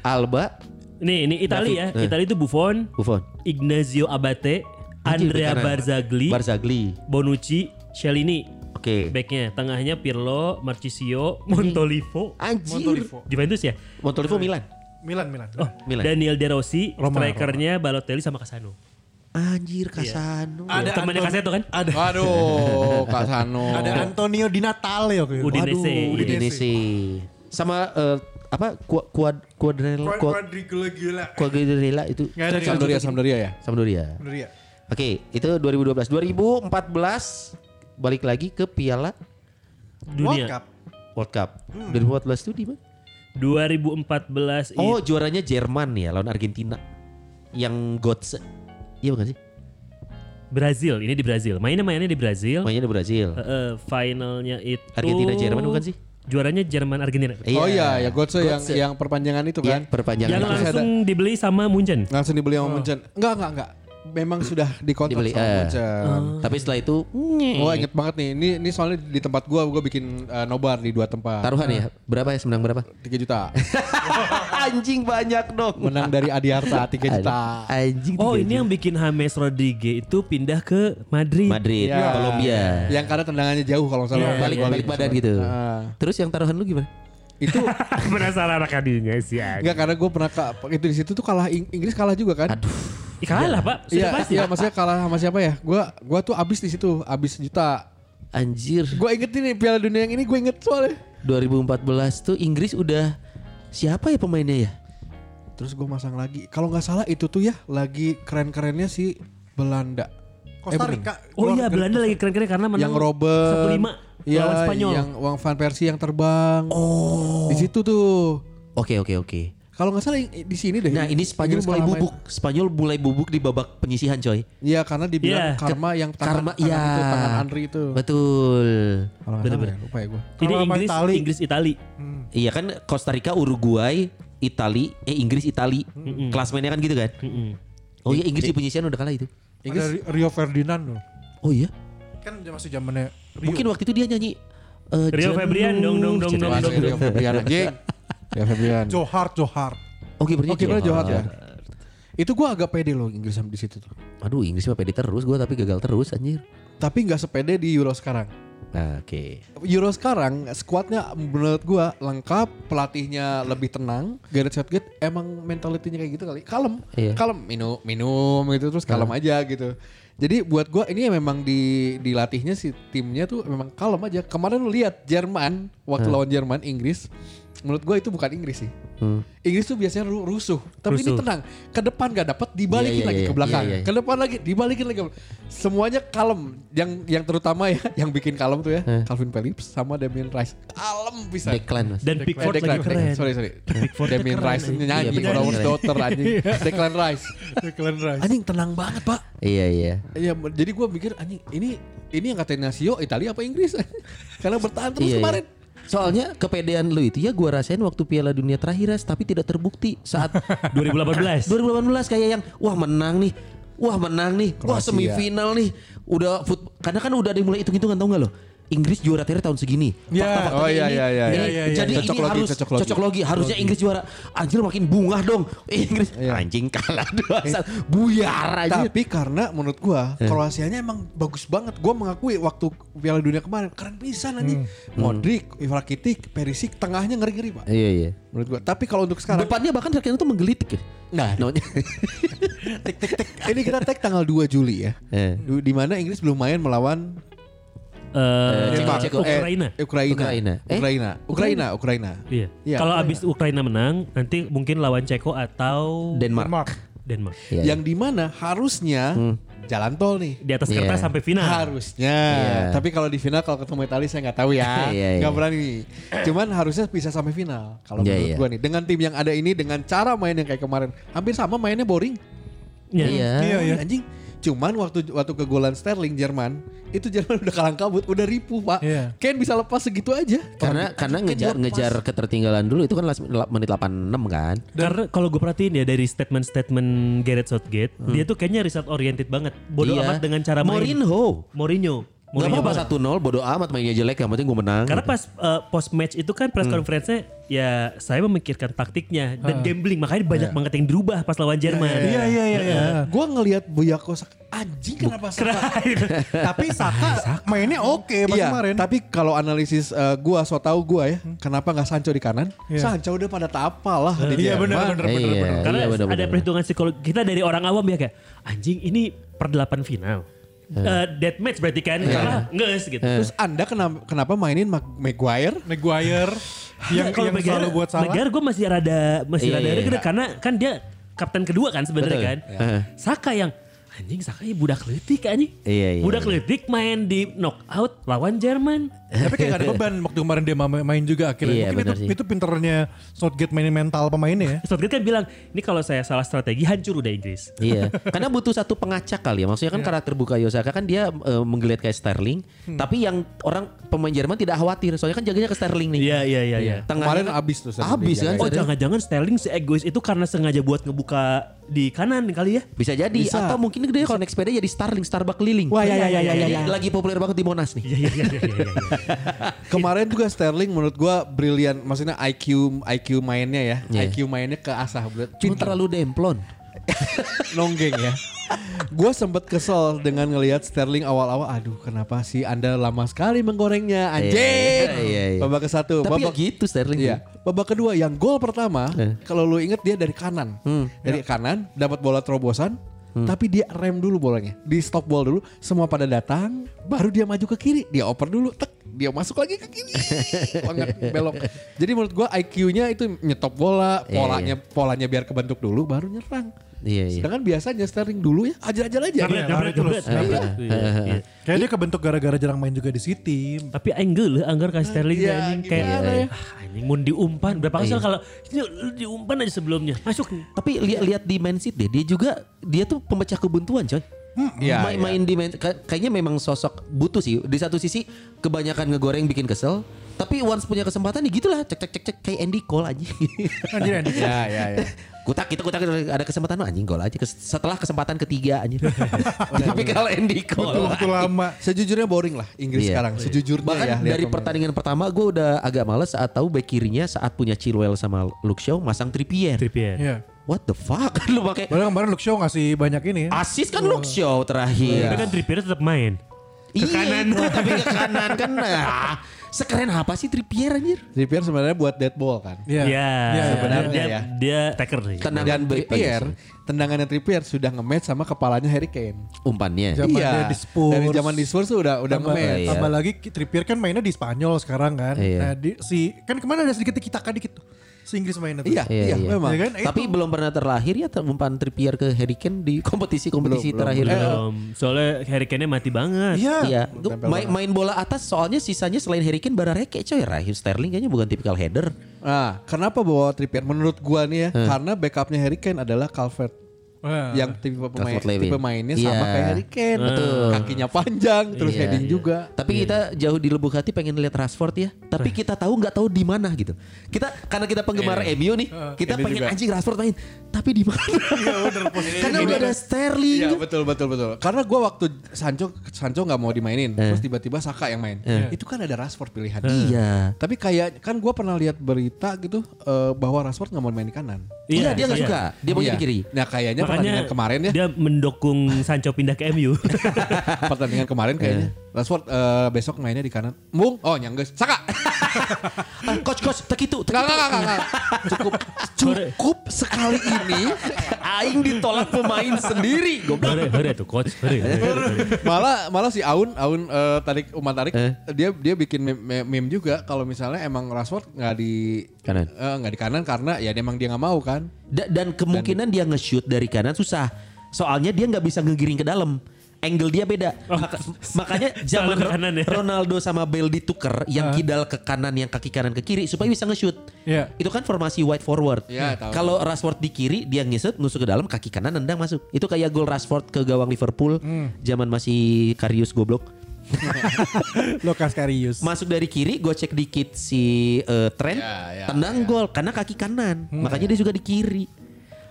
Speaker 3: Alba,
Speaker 1: Nih, ini Itali
Speaker 3: David,
Speaker 1: ya.
Speaker 3: eh.
Speaker 1: Itali itu Buffon,
Speaker 3: Buffon,
Speaker 1: Ignazio Abate,
Speaker 3: Anjing,
Speaker 1: Andrea
Speaker 3: bekanan.
Speaker 1: Barzagli,
Speaker 3: Barzagli.
Speaker 1: Bonucci, Chiellini.
Speaker 3: Oke.
Speaker 1: Backnya, tengahnya Pirlo, Marchisio, Montolivo,
Speaker 3: Ah. Anjir.
Speaker 5: Montolivo.
Speaker 1: Juventus ya.
Speaker 3: Montolivo Milan.
Speaker 5: Milan Milan.
Speaker 1: Oh,
Speaker 3: Milan.
Speaker 1: Daniel De Rossi,
Speaker 5: Roma,
Speaker 1: strikernya Balotelli sama Casano. Iya.
Speaker 3: Anjir Kasano.
Speaker 5: Ada
Speaker 1: Temannya
Speaker 5: Anton-
Speaker 1: Casano kan?
Speaker 5: Ada
Speaker 2: Waduh, Kasano.
Speaker 5: ada Antonio Di Natale waktu itu.
Speaker 1: Udin- Udinese.
Speaker 3: Udinese. Sama eh, apa kuad kuad
Speaker 5: Wah,
Speaker 3: kuadrela kuad
Speaker 5: Quadrigola gila.
Speaker 3: kuadrela itu
Speaker 5: Nggak ada
Speaker 2: Sampdoria, Sampdoria ya?
Speaker 3: Sampdoria.
Speaker 5: Bener ya?
Speaker 3: Oke, itu 2012. 2014 balik lagi ke Piala
Speaker 5: World
Speaker 1: Dunia.
Speaker 5: Cup.
Speaker 3: World Cup.
Speaker 5: Hmm.
Speaker 3: 2014 itu di mana?
Speaker 1: 2014
Speaker 3: Oh, juaranya Jerman ya lawan Argentina. Yang Gotze. Iya bukan sih?
Speaker 1: Brazil, ini di Brazil. Mainnya-mainnya di Brazil.
Speaker 3: Mainnya di Brazil.
Speaker 1: Eh, eh, finalnya itu
Speaker 3: Argentina, Jerman bukan sih?
Speaker 1: Juaranya Jerman Argentina.
Speaker 2: Oh iya, ya Gotse yang
Speaker 3: Götze.
Speaker 2: yang perpanjangan itu Oh.
Speaker 3: Iya,
Speaker 2: kan.
Speaker 3: perpanjangan.
Speaker 1: Yang
Speaker 2: Terus ada-
Speaker 1: langsung dibeli sama Munchen.
Speaker 2: Langsung dibeli sama Munchen. Enggak, enggak, enggak. Memang sudah dikontrak
Speaker 3: Dibeli,
Speaker 2: sama
Speaker 3: eh.
Speaker 2: Munchen.
Speaker 3: Tapi setelah itu
Speaker 2: Wah inget banget nih, ini, ini soalnya di tempat gua, gua bikin eh, nobar di dua tempat
Speaker 3: taruhan ya. Berapa ya menang berapa?
Speaker 2: 3 juta
Speaker 3: *laughs* Anjing banyak dong.
Speaker 2: Menang dari
Speaker 3: *laughs*
Speaker 2: Adiarta 3 juta
Speaker 3: Anjing.
Speaker 1: Oh,
Speaker 3: tiga
Speaker 1: ini yang bikin James Rodriguez itu pindah ke Madrid.
Speaker 3: juta. Madrid,
Speaker 2: Iya.
Speaker 3: Kolombia. Iya,
Speaker 2: Yang karena tendangannya jauh kalau nggak salah
Speaker 3: Balik
Speaker 2: Gua
Speaker 3: balik
Speaker 2: lihat.
Speaker 3: badan gitu.
Speaker 2: Ah.
Speaker 3: Terus yang taruhan lu gimana?
Speaker 2: Itu
Speaker 1: *laughs* Penasaran anak adiknya sih. Ag.
Speaker 2: enggak karena gua pernah ka- itu di situ tuh kalah Ing- Inggris kalah juga kan
Speaker 1: Ih, Kalah, Pak. Sudah
Speaker 2: Iya,
Speaker 1: pasti.
Speaker 2: iya maksudnya kalah sama siapa ya? Gua gua tuh abis di situ, abis juta.
Speaker 3: Anjir.
Speaker 2: Gua inget ini Piala Dunia yang ini gue inget soalnya.
Speaker 3: 2014 tuh Inggris udah siapa ya pemainnya ya?
Speaker 2: Terus gua masang lagi. Kalau nggak salah itu tuh ya lagi keren-kerennya si Belanda.
Speaker 5: Costa
Speaker 2: bukan.
Speaker 5: Rica.
Speaker 1: Oh iya,
Speaker 5: Keluar-
Speaker 1: Belanda lagi keren-keren karena menang
Speaker 2: yang Robert
Speaker 1: 1-5
Speaker 2: ya,
Speaker 1: lawan Spanyol.
Speaker 2: Yang Wang Van Persie yang terbang. Oh. Di situ tuh.
Speaker 3: Oke oke oke.
Speaker 2: Kalau nggak salah i- di sini deh.
Speaker 3: Nah ini Spanyol
Speaker 2: Inggris
Speaker 3: mulai
Speaker 2: kalah main.
Speaker 3: bubuk. Spanyol mulai bubuk di babak penyisihan coy.
Speaker 2: Iya karena dibilang
Speaker 1: Iya.
Speaker 2: karma yang
Speaker 3: Karma
Speaker 2: tangan, tangan
Speaker 3: ya.
Speaker 2: itu tangan Andri itu.
Speaker 3: Betul.
Speaker 2: Kalau nggak salah ya, lupa ya gue.
Speaker 1: Jadi
Speaker 5: Kalau sama
Speaker 1: Inggris,
Speaker 5: Itali.
Speaker 1: Inggris Itali.
Speaker 2: Hmm.
Speaker 3: Iya kan Costa Rica, Uruguay, Itali, eh Inggris, Itali.
Speaker 2: Hmm.
Speaker 3: Klasmennya kan gitu kan? Oh iya Inggris di penyisihan udah kalah itu.
Speaker 5: Ada Ri- Rio Ferdinand loh.
Speaker 3: Oh iya.
Speaker 5: Kan masih zamannya Rio.
Speaker 3: Mungkin waktu itu dia nyanyi eh, jenuh,
Speaker 1: Rio Febrian, dong, dong, dong,
Speaker 3: jenuh.
Speaker 1: dong,
Speaker 2: Wah,
Speaker 1: dong.
Speaker 2: Rio Febrian anjing. *laughs* Rio Febrian.
Speaker 5: Johar Johar.
Speaker 3: Oke berarti
Speaker 2: Oke, berarti Johor ya. Itu gue agak pede loh Inggris sama di situ tuh.
Speaker 3: Aduh Inggris mah pede terus gue tapi gagal terus anjir.
Speaker 2: Tapi nggak sepede di Euro sekarang.
Speaker 3: Nah, Oke.
Speaker 2: Euro sekarang skuadnya menurut gue lengkap, pelatihnya lebih tenang. Gareth Southgate emang mentalitinya kayak gitu kali, kalem,
Speaker 3: Iya.
Speaker 2: kalem minum minum gitu terus kalem aja gitu. Jadi buat gue ini memang di dilatihnya si timnya tuh memang kalem aja. Kemarin lu lihat Jerman waktu
Speaker 3: Iya.
Speaker 2: lawan Jerman Inggris, menurut gue itu bukan Inggris sih.
Speaker 3: Hmm.
Speaker 2: Inggris tuh biasanya ru- rusuh, tapi ini
Speaker 1: Rusuh.
Speaker 2: tenang. Ke depan gak dapat dibalikin
Speaker 3: Iya, iya,
Speaker 2: lagi
Speaker 3: iya,
Speaker 2: ke belakang,
Speaker 3: iya, iya.
Speaker 2: ke depan lagi dibalikin lagi. ke belakang. Semuanya kalem. Yang yang terutama ya, *laughs* yang bikin kalem tuh ya, Calvin Phillips sama Damien Rice. Kalem bisa.
Speaker 3: Declan mas.
Speaker 1: Dan
Speaker 2: Eh,
Speaker 1: Pickford
Speaker 2: Declan,
Speaker 1: lagi keren.
Speaker 2: Declan, sorry sorry.
Speaker 1: Pickford
Speaker 2: Damien
Speaker 1: keren,
Speaker 2: Rice
Speaker 1: anjing.
Speaker 3: Iya,
Speaker 2: nyanyi
Speaker 3: Pickford
Speaker 2: Flower
Speaker 3: keren.
Speaker 2: Daughter anjing. Declan Rice.
Speaker 5: Declan Rice.
Speaker 1: *laughs*
Speaker 2: Anjing tenang banget, Pak.
Speaker 3: Iya iya.
Speaker 2: Ya, jadi gue mikir anjing ini ini yang katanya Nasio Italia apa Inggris? *laughs* Karena bertahan terus
Speaker 3: Iya, iya.
Speaker 2: kemarin.
Speaker 3: Soalnya kepedean lu itu ya gua rasain waktu Piala Dunia terakhir Ras, tapi tidak terbukti saat
Speaker 2: *laughs*
Speaker 1: 2018.
Speaker 3: 2018 kayak yang wah menang nih. Wah menang nih. Wah
Speaker 2: Kroasia.
Speaker 3: semifinal nih. Udah foot karena kan udah ada yang mulai hitung-hitungan tau gak lo? Inggris juara terakhir tahun segini.
Speaker 5: Ya.
Speaker 3: Fakta-faktanya
Speaker 2: Oh, iya,
Speaker 3: ini,
Speaker 2: iya, iya,
Speaker 3: ini.
Speaker 5: iya, iya, iya.
Speaker 3: Jadi
Speaker 2: Cocok
Speaker 3: ini
Speaker 2: logi,
Speaker 3: harus
Speaker 2: cocok
Speaker 3: cocok
Speaker 2: logi.
Speaker 3: logi. Harusnya Inggris juara. Anjir makin bungah dong. Inggris
Speaker 2: Iya.
Speaker 3: anjing kalah 2 Buyar aja.
Speaker 2: Tapi karena menurut gua Kroasianya emang bagus banget. Gua mengakui waktu Piala Dunia kemarin keren pisan anjing. Modric, Ivrakitic, Perisic tengahnya ngeri-ngeri, Pak.
Speaker 3: Iya iya.
Speaker 2: Menurut gua. Tapi kalau untuk sekarang
Speaker 3: *laughs* Depannya bahkan terkena tuh menggelitik ya. Nah,
Speaker 2: *laughs* ini kita tag tanggal 2 Juli ya.
Speaker 3: Eh.
Speaker 2: Du- Di mana Inggris belum main melawan
Speaker 1: Eh,
Speaker 3: Jepang.
Speaker 2: Jepang. Eh,
Speaker 1: Ukraina.
Speaker 2: Ukraina.
Speaker 3: Ukraina. Eh?
Speaker 2: Ukraina. Ukraina. Ukraina.
Speaker 1: Iya.
Speaker 2: Iya,
Speaker 1: Kalau
Speaker 2: Ukraina.
Speaker 1: abis Ukraina menang, nanti mungkin lawan Ceko atau
Speaker 3: Denmark.
Speaker 5: Denmark.
Speaker 1: Denmark.
Speaker 3: Iya, Hmm.
Speaker 2: Yang di mana harusnya jalan tol nih.
Speaker 1: Di atas
Speaker 3: Iya.
Speaker 1: kertas sampai final.
Speaker 2: Harusnya.
Speaker 3: Iya.
Speaker 2: Tapi kalau di final kalau ketemu Italia saya nggak tahu ya.
Speaker 3: *laughs* Iya,
Speaker 2: Nggak
Speaker 3: iya.
Speaker 2: berani. Cuman harusnya bisa sampai final. Kalau
Speaker 3: Iya,
Speaker 2: menurut
Speaker 3: iya.
Speaker 2: gua nih dengan tim yang ada ini dengan cara main yang kayak kemarin hampir sama mainnya boring.
Speaker 1: Iya.
Speaker 3: Iya.
Speaker 5: Iya, iya.
Speaker 2: Anjing Cuman waktu waktu kegolan Sterling Jerman, itu Jerman *laughs* udah kalang kabut, udah ripuh, Pak.
Speaker 5: Iya.
Speaker 2: Kane bisa lepas segitu aja. Iya,
Speaker 3: Karena karena ngejar ngejar ketertinggalan dulu itu kan last- la- menit 86 kan.
Speaker 1: Karena kalau gue perhatiin ya dari statement-statement Gareth Southgate, dia tuh kayaknya riset oriented banget. Bodoh
Speaker 3: Iya.
Speaker 1: amat dengan cara main.
Speaker 3: Mourinho.
Speaker 1: Mourinho.
Speaker 3: Gak
Speaker 1: Mourinho
Speaker 3: apa-apa
Speaker 1: banget.
Speaker 3: 1-0 bodo amat mainnya jelek yang penting gue menang. gitu.
Speaker 1: Karena pas uh, post match itu kan press conference-nya ya saya memikirkan taktiknya dan gambling makanya banyak banget yang dirubah pas lawan Jerman.
Speaker 5: Iya iya iya. iya.
Speaker 2: Gua ngelihat Boyako Saka anjing kenapa Saka?
Speaker 5: Tapi Saka mainnya oke pas
Speaker 2: Iya,
Speaker 5: kemarin.
Speaker 2: tapi kalau analisis eh, gua so tau gua ya, kenapa nggak Sancho di kanan?
Speaker 5: Iya.
Speaker 2: Sancho udah pada tapal lah di
Speaker 5: Iya,
Speaker 2: Jerman.
Speaker 5: benar, benar.
Speaker 3: Eh, iya,
Speaker 1: Karena
Speaker 3: iya,
Speaker 1: ada
Speaker 3: benar-benar.
Speaker 1: perhitungan psikologi kita dari orang awam ya kayak anjing ini per delapan final.
Speaker 3: Iya.
Speaker 1: Eh, dead match berarti kan kalah nges gitu.
Speaker 2: Terus Anda kenapa, kenapa mainin Mag- *laughs* Maguire?
Speaker 5: Maguire yang,
Speaker 1: Iya, Kalau
Speaker 5: yang
Speaker 1: Maguire-
Speaker 5: selalu buat salah.
Speaker 1: Maguire gue masih rada masih
Speaker 3: Iya,
Speaker 1: rada
Speaker 3: iya,
Speaker 1: rada
Speaker 3: iya.
Speaker 1: karena kan dia kapten kedua kan sebenarnya
Speaker 3: Betul.
Speaker 1: kan.
Speaker 3: Iya.
Speaker 1: Saka yang anjing Saka ya budak letik anjing.
Speaker 3: Iya, iya,
Speaker 1: budak
Speaker 3: iya.
Speaker 1: letik main di knockout lawan Jerman.
Speaker 5: Tapi kayak
Speaker 1: *laughs*
Speaker 5: gak ada beban waktu kemarin dia ma- main juga akhirnya.
Speaker 3: Iya,
Speaker 5: Mungkin itu,
Speaker 3: benar sih.
Speaker 5: itu pinternya Southgate mainin mental pemainnya ya.
Speaker 1: Southgate kan bilang, ini kalau saya salah strategi hancur udah Inggris.
Speaker 3: iya, karena butuh satu pengacak kali ya. Maksudnya
Speaker 1: Iya.
Speaker 3: kan karakter Bukayo Saka kan dia eh, menggeliat kayak Sterling,
Speaker 1: Hmm.
Speaker 3: tapi yang orang pemain Jerman tidak khawatir, soalnya kan jaganya ke Sterling nih.
Speaker 1: Iya iya iya. iya.
Speaker 3: Tengahnya
Speaker 2: Kemarin
Speaker 3: kan-
Speaker 2: abis tuh. Sterling
Speaker 3: Abis kan?
Speaker 2: dijagain.
Speaker 1: Oh
Speaker 3: Sadar.
Speaker 1: jangan-jangan Sterling si egois itu karena sengaja buat ngebuka di kanan kali ya?
Speaker 3: Bisa jadi atau mungkin dia connect sepeda jadi Starling Starbuck keliling.
Speaker 2: Wah, iya, iya, iya, iya,
Speaker 3: Jadi
Speaker 2: iya.
Speaker 3: Lagi populer banget di Monas nih.
Speaker 1: Iya iya iya iya.
Speaker 3: *laughs*
Speaker 1: iya, iya.
Speaker 2: Kemarin juga Sterling menurut gua brilian, maksudnya IQ IQ mainnya ya,
Speaker 3: Iya.
Speaker 2: IQ mainnya ke asah,
Speaker 3: Cuma terlalu demplon.
Speaker 2: nonggeng ya. Gua sempet kesel dengan ngelihat Sterling awal-awal, aduh kenapa sih Anda lama sekali menggorengnya, anjing.
Speaker 3: Iya, iya, iya.
Speaker 2: Babak ke satu,
Speaker 3: Tapi ya
Speaker 2: babak
Speaker 3: gitu Sterling.
Speaker 2: Iya. Babak kedua yang gol pertama,
Speaker 3: Eh.
Speaker 2: kalau lu inget dia dari kanan,
Speaker 3: Hmm. Iya.
Speaker 2: dari kanan dapat bola terobosan, tapi dia rem dulu bolanya, di stop ball dulu, semua pada datang, baru dia maju ke kiri, dia oper dulu, tek, dia masuk lagi ke
Speaker 3: *laughs*
Speaker 2: kiri, banget belok. Jadi menurut gua IQ-nya itu nyetop bola,
Speaker 3: Iya,
Speaker 2: polanya polanya biar kebentuk dulu, baru nyerang.
Speaker 3: Iya, iya.
Speaker 2: Sedangkan biasanya Sterling dulu ya ajar-ajar aja.
Speaker 5: Karena-
Speaker 1: Jabret, jabret, jabret. Iya, iya.
Speaker 5: Kayaknya dia kebentuk gara-gara jarang main juga di City.
Speaker 1: Tapi angle lah anggar kayak Sterling
Speaker 2: Iya,
Speaker 1: anjing kayak
Speaker 2: gimana ya?
Speaker 1: ah, anjing mun diumpan berapa kali kalau ini lu diumpan aja sebelumnya masuk nih.
Speaker 3: Tapi lihat-lihat di Man City deh, dia juga dia tuh pemecah kebuntuan, coy.
Speaker 2: Iya,
Speaker 3: main,
Speaker 2: iya.
Speaker 3: main di Man- ka- kayaknya memang sosok butuh sih. Di satu sisi kebanyakan ngegoreng bikin kesel, tapi once punya kesempatan ya gitulah cek cek cek cek kayak Andy Cole aja.
Speaker 5: Anjir Andy.
Speaker 2: Ya, ya, ya.
Speaker 3: *laughs* kutak kita kutak gitu. ada kesempatan mah, anjing gol aja Kes- setelah kesempatan ketiga
Speaker 2: *laughs*
Speaker 3: anjing. tapi kalau
Speaker 2: Oh,
Speaker 3: Andy Cole
Speaker 5: Waktu lama.
Speaker 2: Sejujurnya boring lah Inggris
Speaker 3: Iya.
Speaker 2: sekarang. Sejujurnya
Speaker 3: Bahkan
Speaker 2: ya, lihat
Speaker 3: dari
Speaker 2: pemain.
Speaker 3: pertandingan pertama gue udah agak males saat tahu back kirinya saat punya Chilwell sama Luke Shaw masang Trippier.
Speaker 1: Trippier.
Speaker 5: Iya.
Speaker 3: What the fuck *laughs* lu pakai
Speaker 5: Padahal kemarin Luke Shaw ngasih banyak ini. ya.
Speaker 3: asis kan Luke Shaw terakhir.
Speaker 1: Tapi kan Trippier tetap main.
Speaker 3: Ke kanan tapi ke kanan kan. ah, sekeren apa sih Trippier anjir?
Speaker 2: Trippier sebenarnya buat dead ball kan.
Speaker 5: Iya.
Speaker 1: Iya,
Speaker 5: Iya,
Speaker 2: sebenarnya
Speaker 1: dia,
Speaker 2: ya.
Speaker 1: dia taker nih.
Speaker 3: Tenang
Speaker 2: Dan
Speaker 3: baik
Speaker 2: Trippier,
Speaker 3: lagi
Speaker 2: tendangannya Trippier sudah nge-match sama kepalanya Harry Kane. Iya.
Speaker 3: sih. umpannya.
Speaker 5: Zaman dia di Spurs.
Speaker 2: Dari zaman di Spurs tuh udah udah
Speaker 5: Tambah,
Speaker 2: nge-match.
Speaker 3: iya.
Speaker 5: tambah lagi Trippier kan mainnya di Spanyol sekarang kan.
Speaker 3: Iya.
Speaker 5: Nah, di, si kan kemana ada sedikit tiki-taka dikit tuh. Si Inggris mainnya tuh.
Speaker 2: Iya,
Speaker 3: Iya,
Speaker 2: iya,
Speaker 3: iya.
Speaker 2: memang.
Speaker 5: Ya kan? Itu.
Speaker 3: Tapi belum pernah terlahir ya ter- umpan Trippier ke Harry Kane di kompetisi-kompetisi
Speaker 2: Belum, belum,
Speaker 3: terakhir. Eh,
Speaker 1: Belum. Soalnya Harry Kane-nya mati banget.
Speaker 5: Iya.
Speaker 3: Iya, Gua main, main bola atas soalnya sisanya selain Harry Kane bara reke coy. Rahim Sterling kayaknya bukan tipikal header.
Speaker 2: Nah, kenapa bawa Trippier? Menurut gua nih ya,
Speaker 3: Hmm.
Speaker 2: karena backupnya Harry Kane adalah Calvert.
Speaker 5: Wah.
Speaker 3: Iya.
Speaker 5: *laughs*
Speaker 2: Yang tipe pemain
Speaker 3: Calvert-Lewin.
Speaker 2: tipe mainnya
Speaker 3: Iya.
Speaker 2: sama kayak Harry Kane. Kakinya panjang, terus
Speaker 3: Iya,
Speaker 2: heading
Speaker 3: iya.
Speaker 2: juga.
Speaker 3: Tapi kita jauh di lubuk hati pengen lihat Rashford ya. Tapi kita tahu nggak tahu di mana gitu. Kita karena kita penggemar
Speaker 2: Iya.
Speaker 3: MU nih, kita
Speaker 2: Ini
Speaker 3: pengen
Speaker 2: Ah, juga.
Speaker 3: anjing Rashford main. Tapi di mana? *laughs* karena udah ada Sterling.
Speaker 2: Iya betul betul betul. Karena gua waktu Sancho Sancho nggak mau dimainin,
Speaker 3: Eh.
Speaker 2: terus tiba-tiba Saka yang main. Itu kan ada Rashford pilihan.
Speaker 3: Iya.
Speaker 2: Tapi kayak kan gua pernah lihat berita gitu eh, bahwa Rashford nggak mau main di kanan.
Speaker 3: Iya, dia nggak suka. Dia mau
Speaker 2: Iya.
Speaker 3: di kiri.
Speaker 2: Nah kayaknya
Speaker 1: Makanya
Speaker 2: pertandingan kemarin ya,
Speaker 1: dia mendukung Sancho pindah ke MU.
Speaker 2: *laughs* pertandingan kemarin kayaknya Rashford eh, besok mainnya di kanan. Mung, oh nyangges, Saka.
Speaker 3: Ah, coach coach tek itu. tek
Speaker 2: Enggak
Speaker 3: itu.
Speaker 2: enggak enggak. Cukup cukup sekali ini
Speaker 3: Aing ditolak pemain sendiri. Goblok.
Speaker 1: *laughs* Hore, hore tuh coach. Hore, hore, hore.
Speaker 2: malah malah si Aun Aun eh, tarik Uman tarik dia dia bikin meme, meme- meme juga kalau misalnya emang Rashford nggak di
Speaker 3: Kanan.
Speaker 2: eh, nggak di kanan karena ya emang dia nggak mau kan
Speaker 3: Da- dan kemungkinan dia nge-shoot dari kanan susah. Soalnya dia nggak bisa ngegiring ke dalam. angle dia beda. Maka- makanya zaman
Speaker 1: Oh. *laughs* Selalu ke kanan ya.
Speaker 3: Ronaldo sama Bale ditukar yang kidal ke kanan yang kaki kanan ke kiri supaya bisa nge-shoot.
Speaker 5: Iya.
Speaker 3: Itu kan formasi wide forward.
Speaker 1: Ya,
Speaker 2: Iya,
Speaker 3: Hmm.
Speaker 2: tahu.
Speaker 3: Kalau Rashford di kiri dia ngisut nusuk ke dalam kaki kanan nendang masuk. Itu kayak gol Rashford ke gawang Liverpool zaman masih Karius goblok.
Speaker 5: Lukas Karius.
Speaker 3: Masuk dari kiri, gue cek dikit si eh, Trent,
Speaker 2: Ya, ya,
Speaker 3: tendang gol karena kaki kanan.
Speaker 5: Hmm.
Speaker 3: Makanya dia juga di kiri.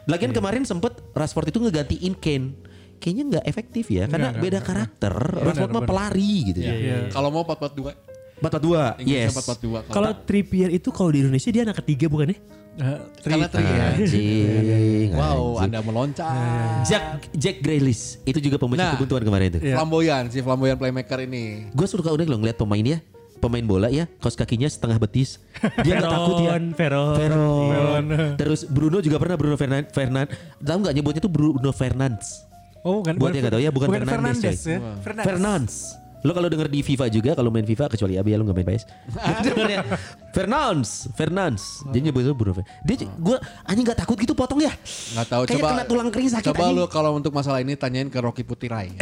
Speaker 3: Lagian
Speaker 5: Iya.
Speaker 3: kemarin sempet Rashford itu ngegantiin Kane. Kayaknya nggak efektif ya, karena
Speaker 5: nggak,
Speaker 3: beda
Speaker 5: nggak.
Speaker 3: karakter. Rashford mah
Speaker 5: benar. Iya,
Speaker 3: pelari gitu ya.
Speaker 2: Kalau mau 442.
Speaker 3: Empat dua,
Speaker 2: Inggrisnya
Speaker 3: yes.
Speaker 2: 442.
Speaker 1: Kalau Trippier itu kalau di Indonesia dia anak ketiga bukan ya?
Speaker 5: Eh, Tri-
Speaker 2: Karena tri ya.
Speaker 3: Anjing,
Speaker 2: Wow,
Speaker 3: Iya, anjing.
Speaker 2: Anda meloncat.
Speaker 3: iya. Jack Jack Grealish itu juga
Speaker 2: Nah.
Speaker 3: pemecah kebuntuan kemarin itu.
Speaker 2: Flamboyan, si flamboyan playmaker ini.
Speaker 3: Gue suka udah loh ngeliat pemain ya, pemain bola ya, kaos kakinya setengah betis. Dia
Speaker 5: *laughs*
Speaker 3: nggak takut ya.
Speaker 1: Veron.
Speaker 3: Veron. Terus Bruno juga pernah Bruno Fernandes. Fernan, tahu nggak nyebutnya tuh Bruno Fernandes.
Speaker 5: Oh, bukan.
Speaker 3: Buat yang nggak tahu ya, bukan Fernandes,
Speaker 5: Fernandes
Speaker 3: coy.
Speaker 5: ya. Fernandes.
Speaker 3: Fernandes. Lo kalau denger di FIFA juga kalau main FIFA kecuali Abi ya lo nggak main *laughs* PS. Dengernya, ya. Fernandes, Fernandes. Dia nyebutnya Bruno Fernandes. Dia gue anjing nggak takut gitu potong ya.
Speaker 2: Nggak tahu
Speaker 3: Kayak
Speaker 2: coba
Speaker 3: kena tulang kering sakit
Speaker 2: Coba
Speaker 3: anjing.
Speaker 2: lu kalau untuk masalah ini tanyain ke Rocky Putirai.